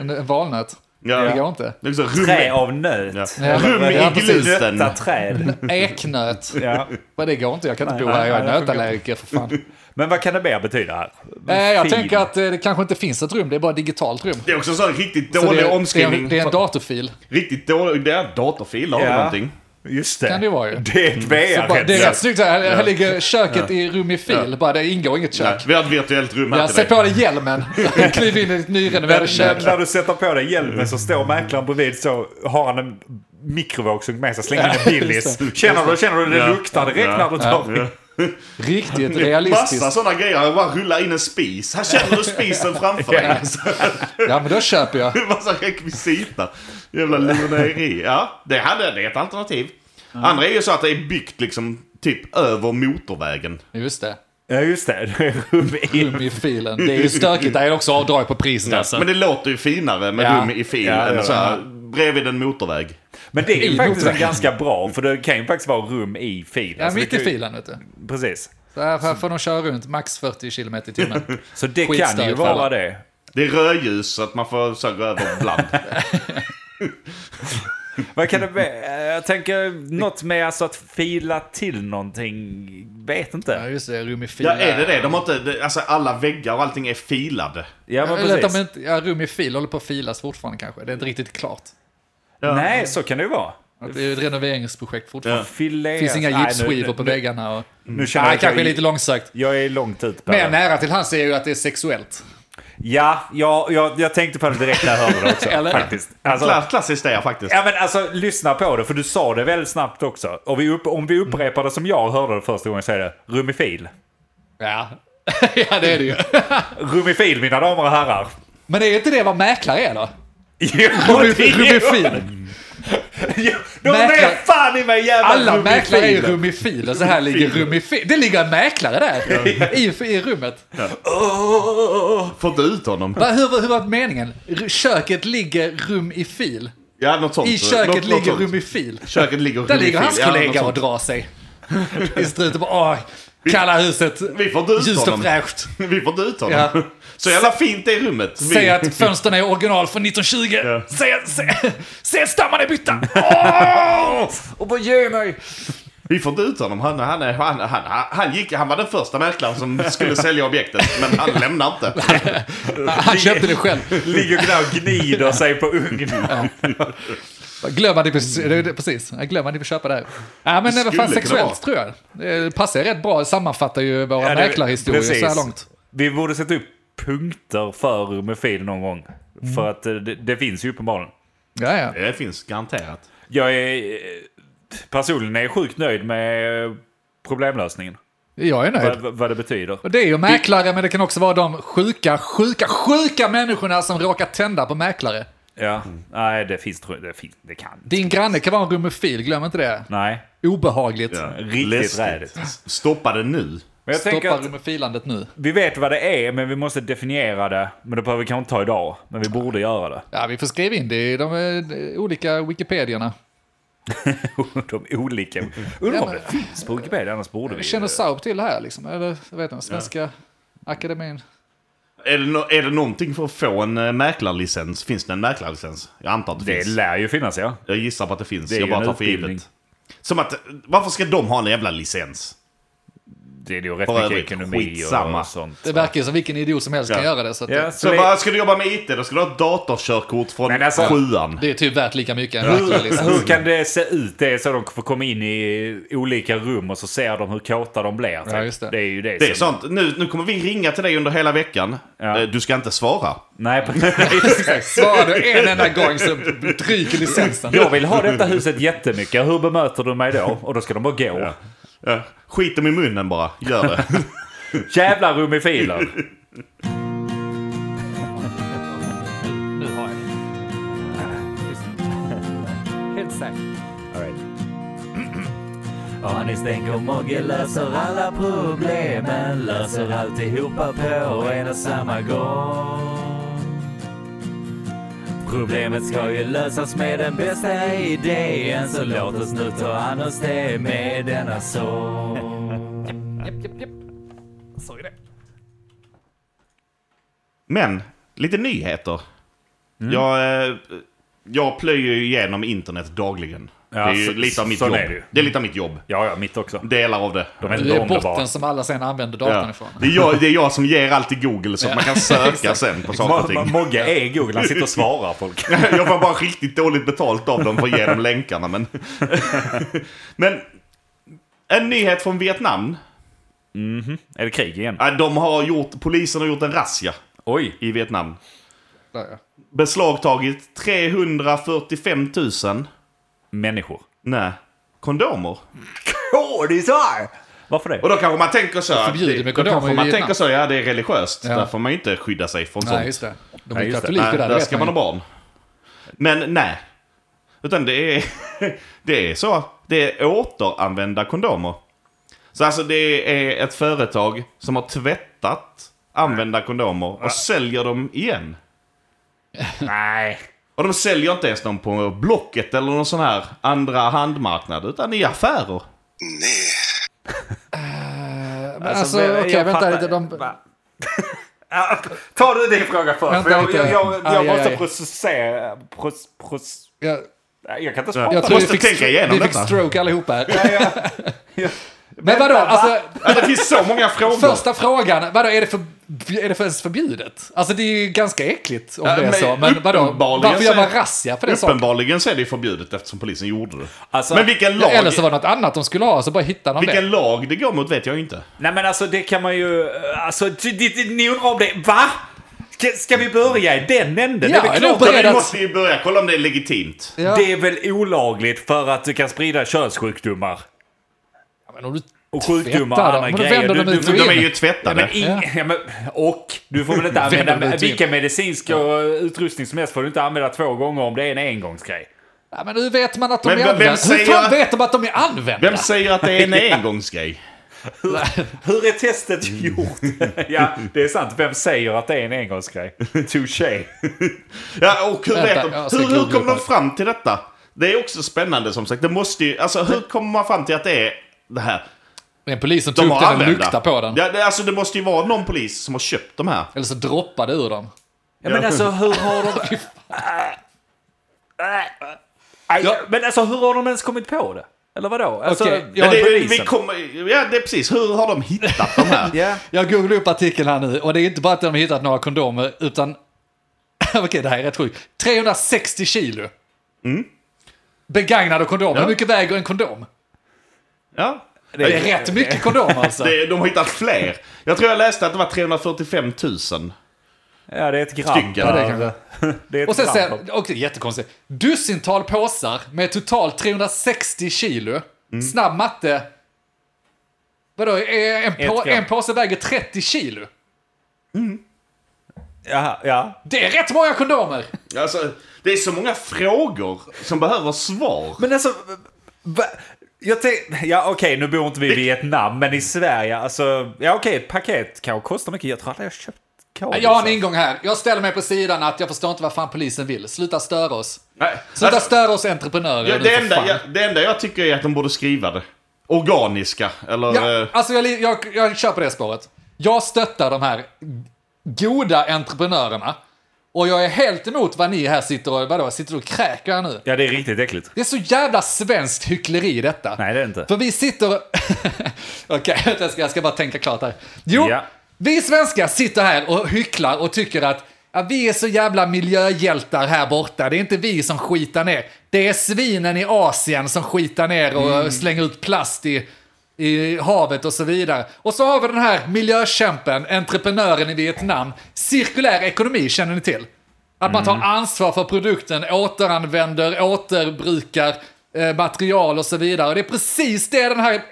en en valnöt.
Ja.
Det går inte.
Det är så rum,
Trä av nöt.
ja.
Ja.
rum
Ja,
i
precis.
gluten.
Nötta träd.
Eknöt.
ja.
Men det går inte, jag kan inte
Nej,
bo här. Jag är
nej, nej, det funkar
nötallergiker för fan.
Men vad kan det mer betyda här?
Nej, Eh, jag
Fil.
tänker att eh, det kanske inte finns ett rum, det är bara ett digitalt rum.
Det är också en sån riktigt
Så det,
dålig
är- det, är
omskrivning.
en, det är en datorfil.
Riktigt dålig... Det är datorfil, har du
Ja.
någonting?
Just det.
Kan det vara ju.
Det är ett VR.
Bara, det är rätt
headset.
snyggt, så här, här ligger köket i rum i fil, bara det ingår inget kök.
Nej, vi har ett virtuellt rum här
Ja,
till
sätt
dig.
på dig hjälmen. Kliv in i ditt nyrenoverade
När,
kök.
när du sätter på dig hjälmen så står mäklaren bredvid så har han en mikrovågsugn med sig, slänger in en Billys. Känner du, känner du det
Ja.
luktar direkt
Ja.
när du tar
Riktigt
Massa
realistiskt.
sådana grejer. Jag bara rulla in en spis. Här känner du spisen framför dig.
Ja, men då köper jag.
Massa rekvisita. Jävla lurendrejeri. Ja, det, hade, det är ett alternativ. Andra är ju så att det är byggt liksom typ över motorvägen.
Just det.
Ja just det, det är rum i.
Rum i filen. Det är ju stökigt. Det är också avdrag på priset alltså.
Men det låter ju finare med
Ja.
rum i fil
Ja,
än
ja,
så här, bredvid en motorväg.
Men det är ju
I
faktiskt en
motorn.
ganska bra, för det kan ju faktiskt vara rum i filen.
Ja,
Så
mitt
Alltså, det
i
kan ju-
filen vet du.
Precis.
Så här, här får de köra runt max 40 km i timmen.
Så det kan ju
Skitstörigt för
vara
alla.
det.
Det är rödljus så att man får så här, gå över ibland.
Vad kan det vara? Eh, Jag tänker något med alltså att fila till någonting. Vet
Ja,
inte.
just det. Rum i
ja,
filen.
är det det? De har inte, det- alltså alla väggar och allting är filade.
Ja men
Eller att de
precis.
inte, ja, rum i fil håller på att filas fortfarande kanske. Det är inte riktigt klart.
Nej, så kan det ju vara.
Att det är ett renoveringsprojekt fortfarande.
Fileras.
Det finns inga
Nej, nu-
gipsskivor
nu-
på väggarna. Och...
Nu känner
Nej,
jag att jag-
kanske lite långsökt.
Jag är långt ut på
Men
det.
nära till hans är ju att det är sexuellt.
Ja, ja jag, jag tänkte på det direkt när jag hörde det också.
Eller?
faktiskt. Alltså,
Kla- Klassiskt är jag faktiskt.
Ja men alltså lyssna på det för du sa det väldigt snabbt också. Och vi upp, om vi
Mm.
upprepar det som jag hörde det första gången så är det rumifil.
Ja. ja, det är det ju.
Rumifil mina damer och herrar.
Men är inte det vad mäklare är då?
Jo, det är-
Rumifil.
Jo, De
Mäklare-
är fan i mig jävla
Alla
rumifiler.
mäklare är ju rumifiler. Så här ligger rumifil. Det ligger en mäklare där. I, i rummet.
Får inte ut honom.
Va, hur, hur var meningen? R- köket ligger rum i fil.
Ja, något sånt.
I köket
Något- något
ligger
sånt.
rum i fil.
Köket ligger
Där
rum i
ligger
fil.
hans
Ja, något
kollega och
sånt.
drar sig. I struten på åh, kalla huset.
Vi får inte ut
Ljust och
honom.
fräscht.
Vi får inte ut honom.
Ja.
Så jävla fint det är rummet. Vi...
Säg att fönstren är original från 1920.
Ja.
Säg, säg, säg att stammarna är bytta. Åh! Och bara ge mig.
Vi får inte ut honom. Han, han, är- han, han, han, han, gick, han var den första mäklaren som skulle sälja objektet, men han lämnar inte.
Han köpte det själv.
Ligger där och gnider sig på ugnen.
Glöm att ni vill- det är precis. Jag glömmer att ni vill köpa det här. Ja, men det
skulle
var fan
kunna vara.
sexuellt tror jag. Det passar rätt bra. Det sammanfattar ju våra
Ja, det-
mäklarhistorier så här
precis.
långt.
Vi borde sätta upp punkter för rumifil någon gång.
Mm.
För att eh, det, det finns ju uppenbarligen.
Ja, ja.
Det finns garanterat.
Jag är... eh, Personligen är jag sjukt nöjd med eh, problemlösningen.
Jag är nöjd.
Vad, vad- vad det betyder.
Och det är ju mäklare, men det kan också vara de sjuka, sjuka, sjuka människorna som råkar tända på mäklare.
Ja. Nej, det finns tror jag- det, finns, det kan.
Din granne kan vara en rummofil, glöm inte det.
Nej.
Obehagligt.
Riktigt
Läskigt.
rädigt.
Stoppa det nu.
Men jag tänker
Stoppa
att
rummofilandet nu.
vi vet vad det är, men vi måste definiera det. Men det behöver vi kanske inte ta idag. Men vi borde göra det.
Ja, vi får skriva in det i de eh, olika Wikipedierna.
De olika... Undrar
Ja,
om
men-
det finns på Wikipedia, annars borde vi...
Känner Saab till det här liksom? Eller jag vet inte, Svenska Akademin?
Är det, no- är det någonting för att få en eh, mäklarlicens? Finns det en mäklarlicens? Jag antar att det,
Det
finns.
lär ju finnas, ja.
Jag gissar på att det finns.
Det är
jag
ju
bara
en
tar för
utbildning.
givet. Som att, varför ska de ha en jävla licens?
Det är ju rätt
För
mycket
övrigt,
ekonomi och,
skitsamma.
och sånt.
Det verkar ju som vilken idiot som helst kan
Ja.
göra det. Så att,
Ja,
det,
Så
så
bara, ska du jobba med IT, då ska du ha ett datorkörkort
Men
från
alltså-
sjuan.
det är typ värt lika mycket. En liksom.
det,
mäklarlicens.
hur kan det se ut? Det är så de får komma in i olika rum och så ser de hur kåta de blir.
Ja, just det.
är ju det.
Det är
som-
sånt. Nu, nu kommer vi ringa till dig under hela veckan.
Ja.
Eh, Du ska inte svara.
Nej, precis.
Exakt. Svarar du en enda gång så ryker licensen.
Jag vill ha detta huset jättemycket. Hur bemöter du mig då? Och då ska de bara gå.
Eh, Skit dem i munnen bara. Gör det.
Jävla rumifiler.
Nu har jag det.
Helt säkert.
All right.
Anis tänker Mogge löser alla problemen, löser alltihopa på en och samma gång. Problemet ska ju lösas med den bästa idén, så låt oss nu ta an oss det med denna sång.
Så är det.
Men, lite nyheter.
Mm.
Jag, eh, jag plöjer ju igenom internet dagligen.
Ja,
det är ju
så-
lite av mitt
sån
jobb.
är det ju.
det är lite av mitt jobb.
Ja, ja, mitt också.
Delar av det.
De är
Du
inte
är
underbara.
botten som alla sen använder
Ja.
datan ifrån.
Det, är jag, det är jag som ger allt till Google så att man kan söka sen på saker och
Ma- ma-
ting.
Mogge är Google, han sitter och svarar folk.
Jag får bara riktigt dåligt betalt av dem för att ge dem länkarna. Men, men en nyhet från Vietnam.
Är det krig igen?
Ja, De har gjort, polisen har gjort en razzia
Oj.
i Vietnam.
Där, ja.
Beslagtagit 345 000
Människor.
nej, kondomer.
Kådisar! Varför det?
Och då kanske man tänker så. att
förbjuder
det-
med
då
kondomer
kanske
i
man
Vietnam.
tänker så, ja det är religiöst.
Ja.
Där får man ju inte skydda sig från sånt.
Nej, just det. De är
Nej,
ju
just det.
katoliker
Nej,
där,
där
det
ska
vet
man
man
ha
ju.
barn. Men nej. Utan det är, det är så. Det är återanvända kondomer. Så alltså det är ett företag som har tvättat använda kondomer och säljer dem igen.
Nej.
Och de säljer inte ens dem på Blocket eller någon sån här andra handmarknad utan i affärer.
Men Alltså, okej, vänta lite. De,
Ta du din fråga först.
Vänta
för jag,
lite.
jag, jag, jag
Aj,
måste
aj, aj.
processera... Pros, pros,
jag,
nej, jag kan inte svara.
jag
Jag
tror vi
måste
fick,
tänka igenom
vi fick
detta.
stroke allihopa här. Men vadå, alltså,
Ja, det finns så många frågor.
första frågan, vadå, är det, för, är det för ens förbjudet? Alltså det är ju ganska äckligt om
Ja,
det är
men
så, men vadå,
uppenbarligen
varför
så
gör
är-
man razzia för det saken?
Uppenbarligen så är det ju förbjudet eftersom polisen gjorde det.
Alltså-
men vilken lag,
Eller så var det något annat de skulle ha, så bara hittade de
vilken
det.
lag det går mot vet jag inte.
eh, Nej men alltså det kan man ju... Alltså, det- det- ni undrar om det... Va? Ska, ska vi börja i den änden?
Ja,
det är väl
det
klart
är bra.
att-
Men
Redan-
vi måste ju börja kolla om det är legitimt.
Ja.
det är väl olagligt för att du kan sprida könssjukdomar.
Ja, men om du
Och sjukdomar och
Tvättar
andra
dem. Men då
grejer.
vänder de
Du,
ut
du,
De
du,
är ju
ja, men
tvättade.
ing, ja. men, och du får väl inte
Vänder de
använda
ut igen.
vilken medicinsk och utrustning som helst får du inte använda två gånger om det är en engångsgrej.
Ja, men hur vet man att de
Men
är
vem- vem
använda? Hur
säger
fan
att-
vet de att de är använda?
Vem säger att det är en engångsgrej?
Hur är testet gjort? ja, det är sant. Vem säger att det är en engångsgrej? Touché.
Ja, och hur
Vänta,
vet de?
jag ska
Hur, hur
googla
kom de
på det.
fram till detta? Det är också spännande som sagt. Det måste ju, alltså hur kommer man fram till att det är det här?
Typ Det är en polis som
De
tog upp
har
den och
använda.
luktade på den.
Ja, det, alltså det måste ju vara någon polis som har köpt de här.
Eller så droppade ur dem.
Ja, men alltså hur har de... Aj,
Ja.
Men alltså hur har de ens kommit på det? Eller vadå? Alltså,
Okej,
ja,
Ja, det, är- vi
polisen.
kommer, ja, det är precis. Hur har de hittat de här?
Ja.
Jag googlar upp artikeln här nu och det är inte bara att de har hittat några kondomer utan... Okej, det här är rätt sjukt. 360 kilo. Mm. Begagnade kondomer. Hur mycket väger en kondom?
Ja.
Det är rätt mycket kondomer alltså.
Det, de har hittat fler. Jag tror jag läste att det var 345 000.
Ja, det är ett gram.
Stycken. Ja,
det
per-
kan det.
det är ett
Och sen
gram
säger
per-
och det är jättekonstigt. Dussintal påsar med totalt 360 kilo.
Mm.
Snabb matte. Vadå, är en, på,
gram.
en påse väger 30 kilo?
Jaha, ja.
Det är rätt många kondomer!
Alltså, det är så många frågor som behöver svar.
Men alltså... Va? Jag tänk, ja okej, nu bor inte vi i Vietnam, men i Sverige, alltså... Ja okej, ett paket kanske kostar mycket. Jag tror aldrig jag har köpt kabel.
Jag har en
så.
ingång här. Jag ställer mig på sidan att jag förstår inte vad fan polisen vill. Sluta störa oss.
Nej,
Sluta
alltså,
störa oss entreprenörer.
ja,
nu,
det,
för
enda,
fan.
jag, det enda jag tycker är att de borde skriva det. Organiska, eller...
Ja,
eh,
alltså jag, jag, jag kör på det spåret. Jag stöttar de här goda entreprenörerna. Och jag är helt emot vad ni här sitter och, vadå, sitter och kräker här nu.
Ja, det är riktigt äckligt.
Det är så jävla svenskt hyckleri i detta.
Nej, det är det inte.
För vi sitter och- Okej, vänta, jag, ska, jag ska bara tänka klart här. Jo,
Ja.
vi svenskar sitter här och hycklar och tycker att ja, vi är så jävla miljöhjältar här borta. Det är inte vi som skitar ner. Det är svinen i Asien som skitar ner och
Mm.
slänger ut plast i, i havet och så vidare. Och så har vi den här miljökämpen, entreprenören i Vietnam. Cirkulär ekonomi känner ni till. Att man tar ansvar för produkten, återanvänder, återbrukar eh, material och så vidare. Och det är precis det den här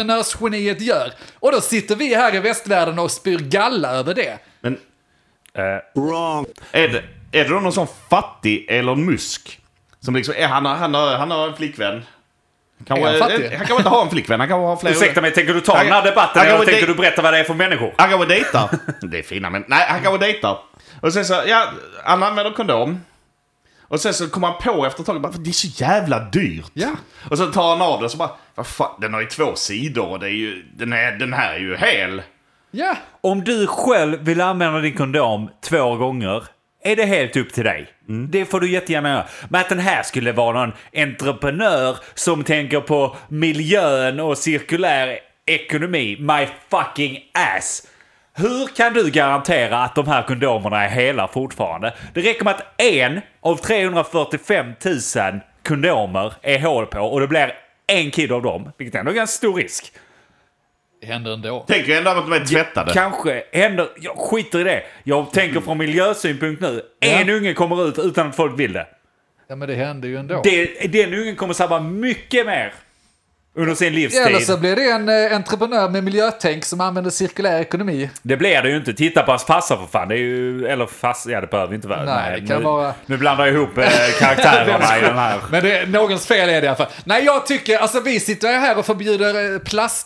entreprenörsgeniet gör. Och då sitter vi här i västvärlden och spyr galla över det.
Men
Eh,
är det, är det då någon sån fattig Elon Musk? Som liksom, är, han, har, han, har, han har en flickvän. Kanske-
Är han fattig?
eh, han kanske inte ha en flickvän, han kanske har flera...
Eh, ursäkta mig, tänker du ta
Han-
den här debatten
han
eller
kanske
tänker
dej-
du berätta vad det är för människor?
Han kanske dejtar. Det är fina men Nej, han kanske dejtar. Och sen så, ja, han använder kondom. Och sen så kommer han på efter ett tag, bara, det är så jävla dyrt.
Ja.
Och så tar han av den och så bara, vad fan, den har ju två sidor och det är ju, den, är, den här är ju hel.
Ja,
Om du själv vill använda din kondom två gånger är det helt upp till dig. Det får du jättegärna göra. Men att den här skulle vara någon entreprenör som tänker på miljön och cirkulär ekonomi. My fucking ass! Hur kan du garantera att de här kondomerna är hela fortfarande? Det räcker med att en av 345 000 kondomer är hål på och det blir en kid av dem, vilket ändå är ganska stor risk.
det händer ändå.
Tänker ju ändå att de är tvättade.
Kanske händer... Jag skiter i det. Jag tänker från miljösynpunkt nu. En
Ja.
unge kommer ut utan att folk vill det.
Ja, men det händer ju ändå.
det den ungen kommer sabba mycket mer under sin livstid.
Eller så blir det en eh, entreprenör med miljötänk som använder cirkulär ekonomi.
Det blir det ju inte. Titta på hans farsa för fan. Det är ju... Eller farsa, ja det behöver inte vara.
Nej, det kan
nu,
vara-
nu blandar jag ihop eh, karaktärerna i den här.
Men det, någons fel är det i alla fall. Nej, jag tycker, alltså vi sitter ju här och förbjuder eh,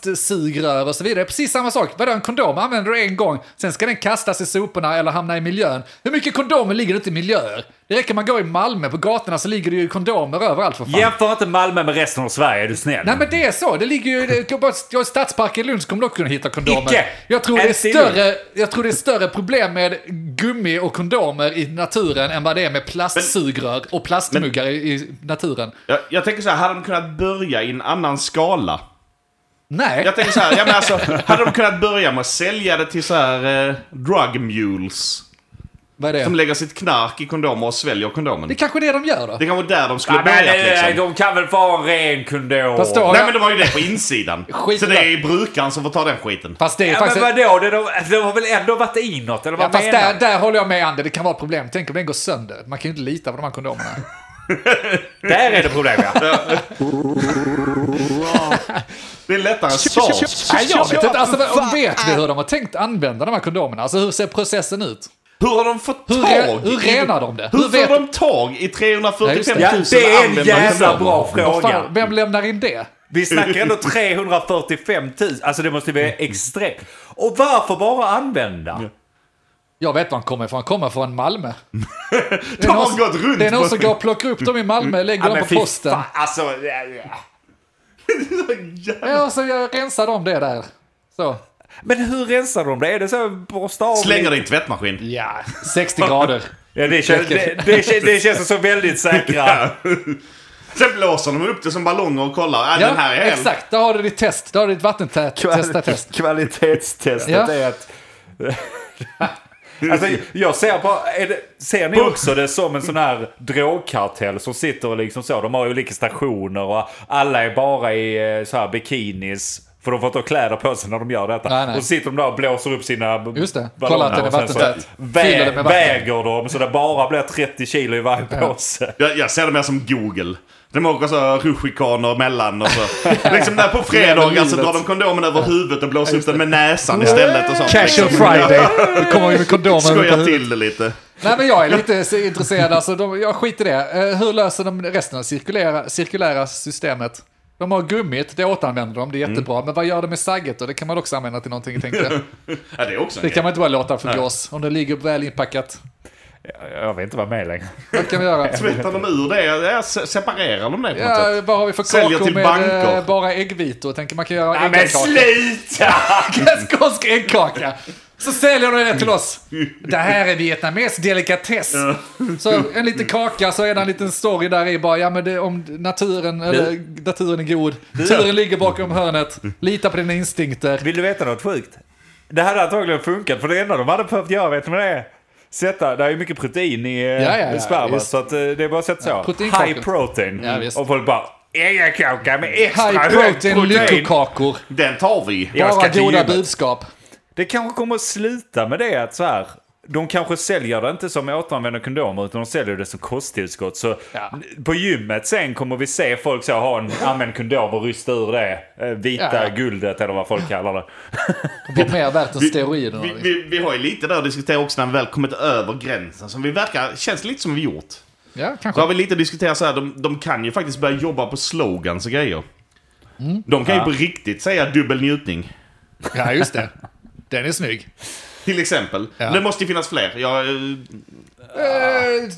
plastsugrör och så vidare. Precis samma sak. Vadå, en kondom använder du en gång, sen ska den kastas i soporna eller hamna i miljön. Hur mycket kondomer ligger det inte i miljöer? Det räcker man går i Malmö, på gatorna så ligger det ju kondomer överallt för fan.
Jämför inte Malmö med resten av Sverige, är du snäll.
Nej men det är så, det ligger ju... Det, bara- jag i Stadsparken i Lund så kommer du också kunna hitta kondomer.
Icke!
Jag tror, det är
Ens i Lund.
större, jag tror det är större problem med gummi och kondomer i naturen än vad det är med plastsugrör och plastmuggar i, i naturen.
Jag, jag tänker så här, hade de kunnat börja i en annan skala?
Nej.
Jag tänker så här, ja men alltså, hade de kunnat börja med att sälja det till så här eh, drug mules?
Vad är det?
Som lägger sitt knark i kondomer och sväljer kondomen.
Det
Det,
är kanske är det de gör då?
det kan vara där de skulle
Nej, men,
börjat
nej,
liksom.
nej, de kan väl få ha en ren kondom?
Fast då-
Nej men det var ju det på insidan.
Skit
Så
i
det
det.
är brukaren som får ta den skiten.
Fast det är
Ja, men
faktiskt...
vadå? Det, de, de har väl ändå varit inåt, eller vad
Ja, fast
menar
där, där håller jag med Ander, det kan vara problem. Tänk om den går sönder. Man kan ju inte lita på de här kondomerna.
du? Där är det problem, ja.
Det är lättare än sars.
Nej, jag vet inte. Alltså, och vet vi hur de har tänkt använda de här kondomerna? Alltså hur ser processen ut?
Hur har de fått
Hur,
tag?
re, hur renar de det?
Hur,
Hur vet
får de tag i 345
ja
000
det är en
använda
jävla
kondomer?
bra
Vad
fråga.
fan, Vem lämnar in det?
Vi snackar ändå 345 000. Alltså det måste bli extremt. Och varför bara använda?
Jag vet var han kommer ifrån. Han kommer från Malmö.
De har gått runt.
Det är någon
på- Mm.
som går och plockar upp dem i Malmö och lägger dem på posten.
fan, alltså... ja, ja.
Ja, så jag rensar dem det där. Så.
Men hur rensar de det? Är det så här borsta av?
Slänger det i en tvättmaskin.
Ja, 60 grader.
Ja, det, känns, det, det, känns- det känns så väldigt säkra.
Sen blåser de upp det som ballonger och kollar. Äh, den
Ja,
här är hel.
exakt. Där har du ditt test. Där har du ditt vattentät. Testa test.
Kvalitetstestet
Ja.
är att... Alltså, jag ser på, är det, ser ni också det som en sån här drogkartell som sitter och liksom så, de har olika stationer och alla är bara i eh, så här bikinis. För de får inte ha kläder på sig när de gör detta.
Nej, nej.
Och så sitter de där och blåser upp sina b-
Just det.
ballonger
Kolla att den är
och sen så
vattentät.
vä-
Fyller den med vatten.
Väger de så det bara blir 30 kilo i varje påse.
Jag, jag ser det mer som Google. De åker så här rutschikaner mellan och så. liksom där på fredagar så drar de kondomen över huvudet och blåser upp den med näsan istället och sånt.
Casual
Liksom.
Friday. Då kommer vi med kondomer över
Skojar
huvudet.
till det lite.
Nej men jag är lite så intresserad, alltså, de, jag skiter i det. Eh, hur löser de resten av cirkulära, cirkulära systemet? De har gummit, det återanvänder de, det är jättebra. Men vad gör de med sagget då? Det kan man också använda till någonting tänkte jag.
Ja, det är också en
Det kan
grej.
man inte bara låta förgås om det ligger väl inpackat.
Jag vill inte vara med längre.
Vad kan vi göra?
Tvättar de ur det? Ja, se- Separerar de det på något sätt?
Ja, vad har vi för
Säljer
kakor
till
med
banker.
eh, bara äggvitor? Tänker man kan göra
Nej, men
äggkaka.
sluta!
Skånsk äggkaka! Så säljer de det till oss. Det här är vietnamesisk delikatess. Så en liten kaka så är det en liten story där i bara, ja men det, om naturen, eller naturen är god. Turen ligger bakom hörnet. Lita på dina instinkter.
Vill du veta något sjukt? Det hade antagligen funkat för det enda de hade behövt göra, vet ni vad det är? Sätta, det är ju mycket protein i eh,
Ja, ja, ja,
spermas
visst.
så att, eh, det är bara att sätta så.
proteinkakor.
High protein.
Ja, visst.
och folk bara äggakaka med extra
High
hög
protein lyckokakor.
Den tar vi.
Jag ska
Bara
till
goda
gymmet.
budskap.
Det kanske kommer att sluta med det att så här. De kanske säljer det inte som återanvända kondomer utan de säljer det som kosttillskott. Så
Ja.
på gymmet sen kommer vi se folk så ha en använd kondom och rysta ur det eh, vita
Ja.
guldet eller vad folk kallar det.
Det mer värt än
Vi,
steroider. liksom.
vi, vi har ju lite där att diskutera också när vi väl kommit över gränsen som vi verkar, känns lite som vi gjort.
Ja,
Så har
kanske.
vi lite diskuterat så här, de, de kan ju faktiskt börja jobba på slogans och grejer.
Mm.
De kan ju på riktigt säga dubbel njutning.
Ja, just det. Den är snygg.
Till exempel.
Ja.
Det måste ju finnas fler. Jag, eh,
Eh,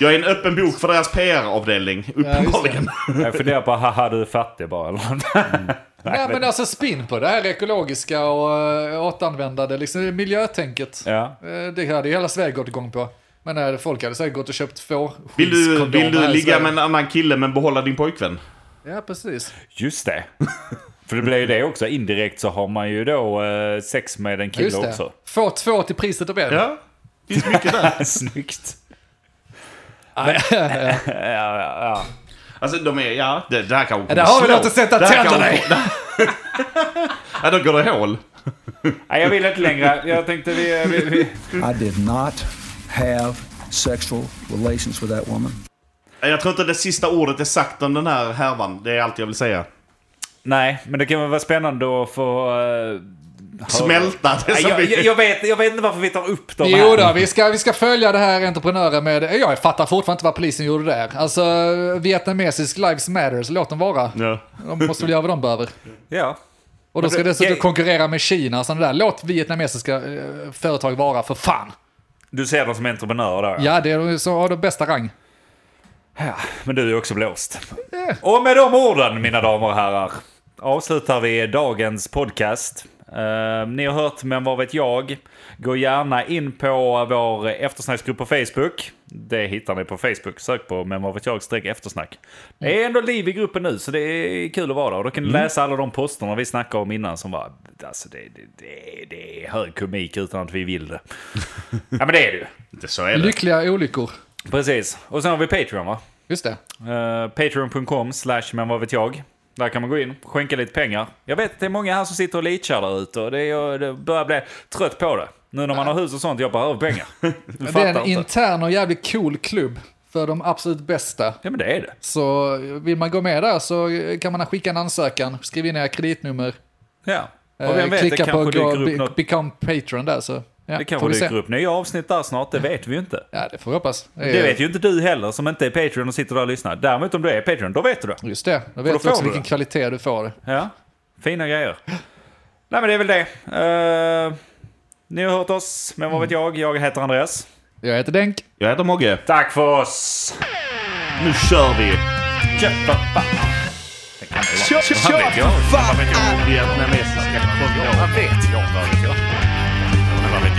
jag är en öppen bok för deras PR-avdelning, uppenbarligen.
Jag funderar på, haha du är fattig bara eller något.
Nej, men alltså spinn på det här ekologiska och eh, återanvändande, liksom miljötänket.
Ja.
Eh, Det hade ju hela Sverige gått igång på. Men när folk hade säkert gått och köpt fårskinnskondomer
Vill du, vill
här
du
i
ligga
Sverige.
med en annan kille men behålla din pojkvän?
Ja, precis.
Just det. För det blir ju det också. Indirekt så har man ju då eh, sex med en
Ja,
kille
just det.
också.
Få två till priset av en.
Ja, det finns mycket där.
Snyggt.
Alltså de är, ja, det, det här kanske
där har vi
slå.
något att sätta
Det här
tänderna
kanske- ja, då går det hål.
Nej, jag vill inte längre. Jag tänkte vi... eh, vi, vi.
I did not have sexual relations with that woman.
Jag tror inte det sista ordet är sagt om den här härvan. Det är allt jag vill säga.
Nej, men det kan väl vara spännande att få... eh,
Smälta det
Nej,
som
jag,
vi-
jag, jag, vet, jag vet inte varför vi tar upp dem
Jo då,
här.
vi ska, vi ska följa det här entreprenören med... Jag fattar fortfarande inte vad polisen gjorde där. Alltså, vietnamesisk lives matters, låt dem vara.
Ja.
De måste väl göra vad de behöver.
Ja.
Och de ska
det-
dessutom
jag-
konkurrera med Kina och sådana där. Låt vietnamesiska eh, företag vara, för fan.
Du ser dem som entreprenörer då?
Ja, det är de som har de bästa rang.
Men du är också blåst. Och med de orden, mina damer och herrar, avslutar vi dagens podcast. Eh, ni har hört Men vad vet jag? Gå gärna in på vår eftersnacksgrupp på Facebook. Det hittar ni på Facebook. Sök på Men vad vet jag streck eftersnack. Det är ändå liv i gruppen nu så det är kul att vara där. Och då kan ni läsa alla de posterna vi snackade om innan som var... Alltså det, det, det, det är hög komik utan att vi vill det. ja men det är det ju.
Det, så är det.
Lyckliga olyckor.
Precis. Och sen har vi Patreon va?
Just det.
Eh, Patreon.com slash men vad vet jag. Där kan man gå in, skänka lite pengar. Jag vet att det är många här som sitter och leachar där ute och det, är, jag det börjar bli trött på det. Nu när man har hus och sånt, jag behöver pengar. Du
Det är en
fattar inte.
intern och jävligt cool klubb för de absolut bästa.
Ja men det är det.
Så eh, vill man gå med där så eh, kan man skicka en ansökan, skriv in era kreditnummer,
Ja.
eh,
Och vem vet, det
klicka på
kanske
gå,
dyker upp
be,
något.
become patron där så
Det
ja, får
kanske
vi se.
dyker upp nya avsnitt där snart, det vet vi ju inte.
Ja, det får vi hoppas. Eh, är-
Det vet ju inte du heller som inte är Patreon och sitter där och lyssnar. Däremot om du är Patreon, då vet du det.
Just det,
då
då vet
får
du också
du
vilken
det.
kvalitet du får.
Ja, fina grejer. Nej men det är väl det. Eh, ni har hört oss, men vad vet jag? Jag heter Andreas.
Jag heter Denk.
Jag heter Mogge.
Tack för oss!
Nu kör vi!
Kör, kör!
Vietnamesiska kondomer.
Vad vet jag? Vad vet jag? Vad vet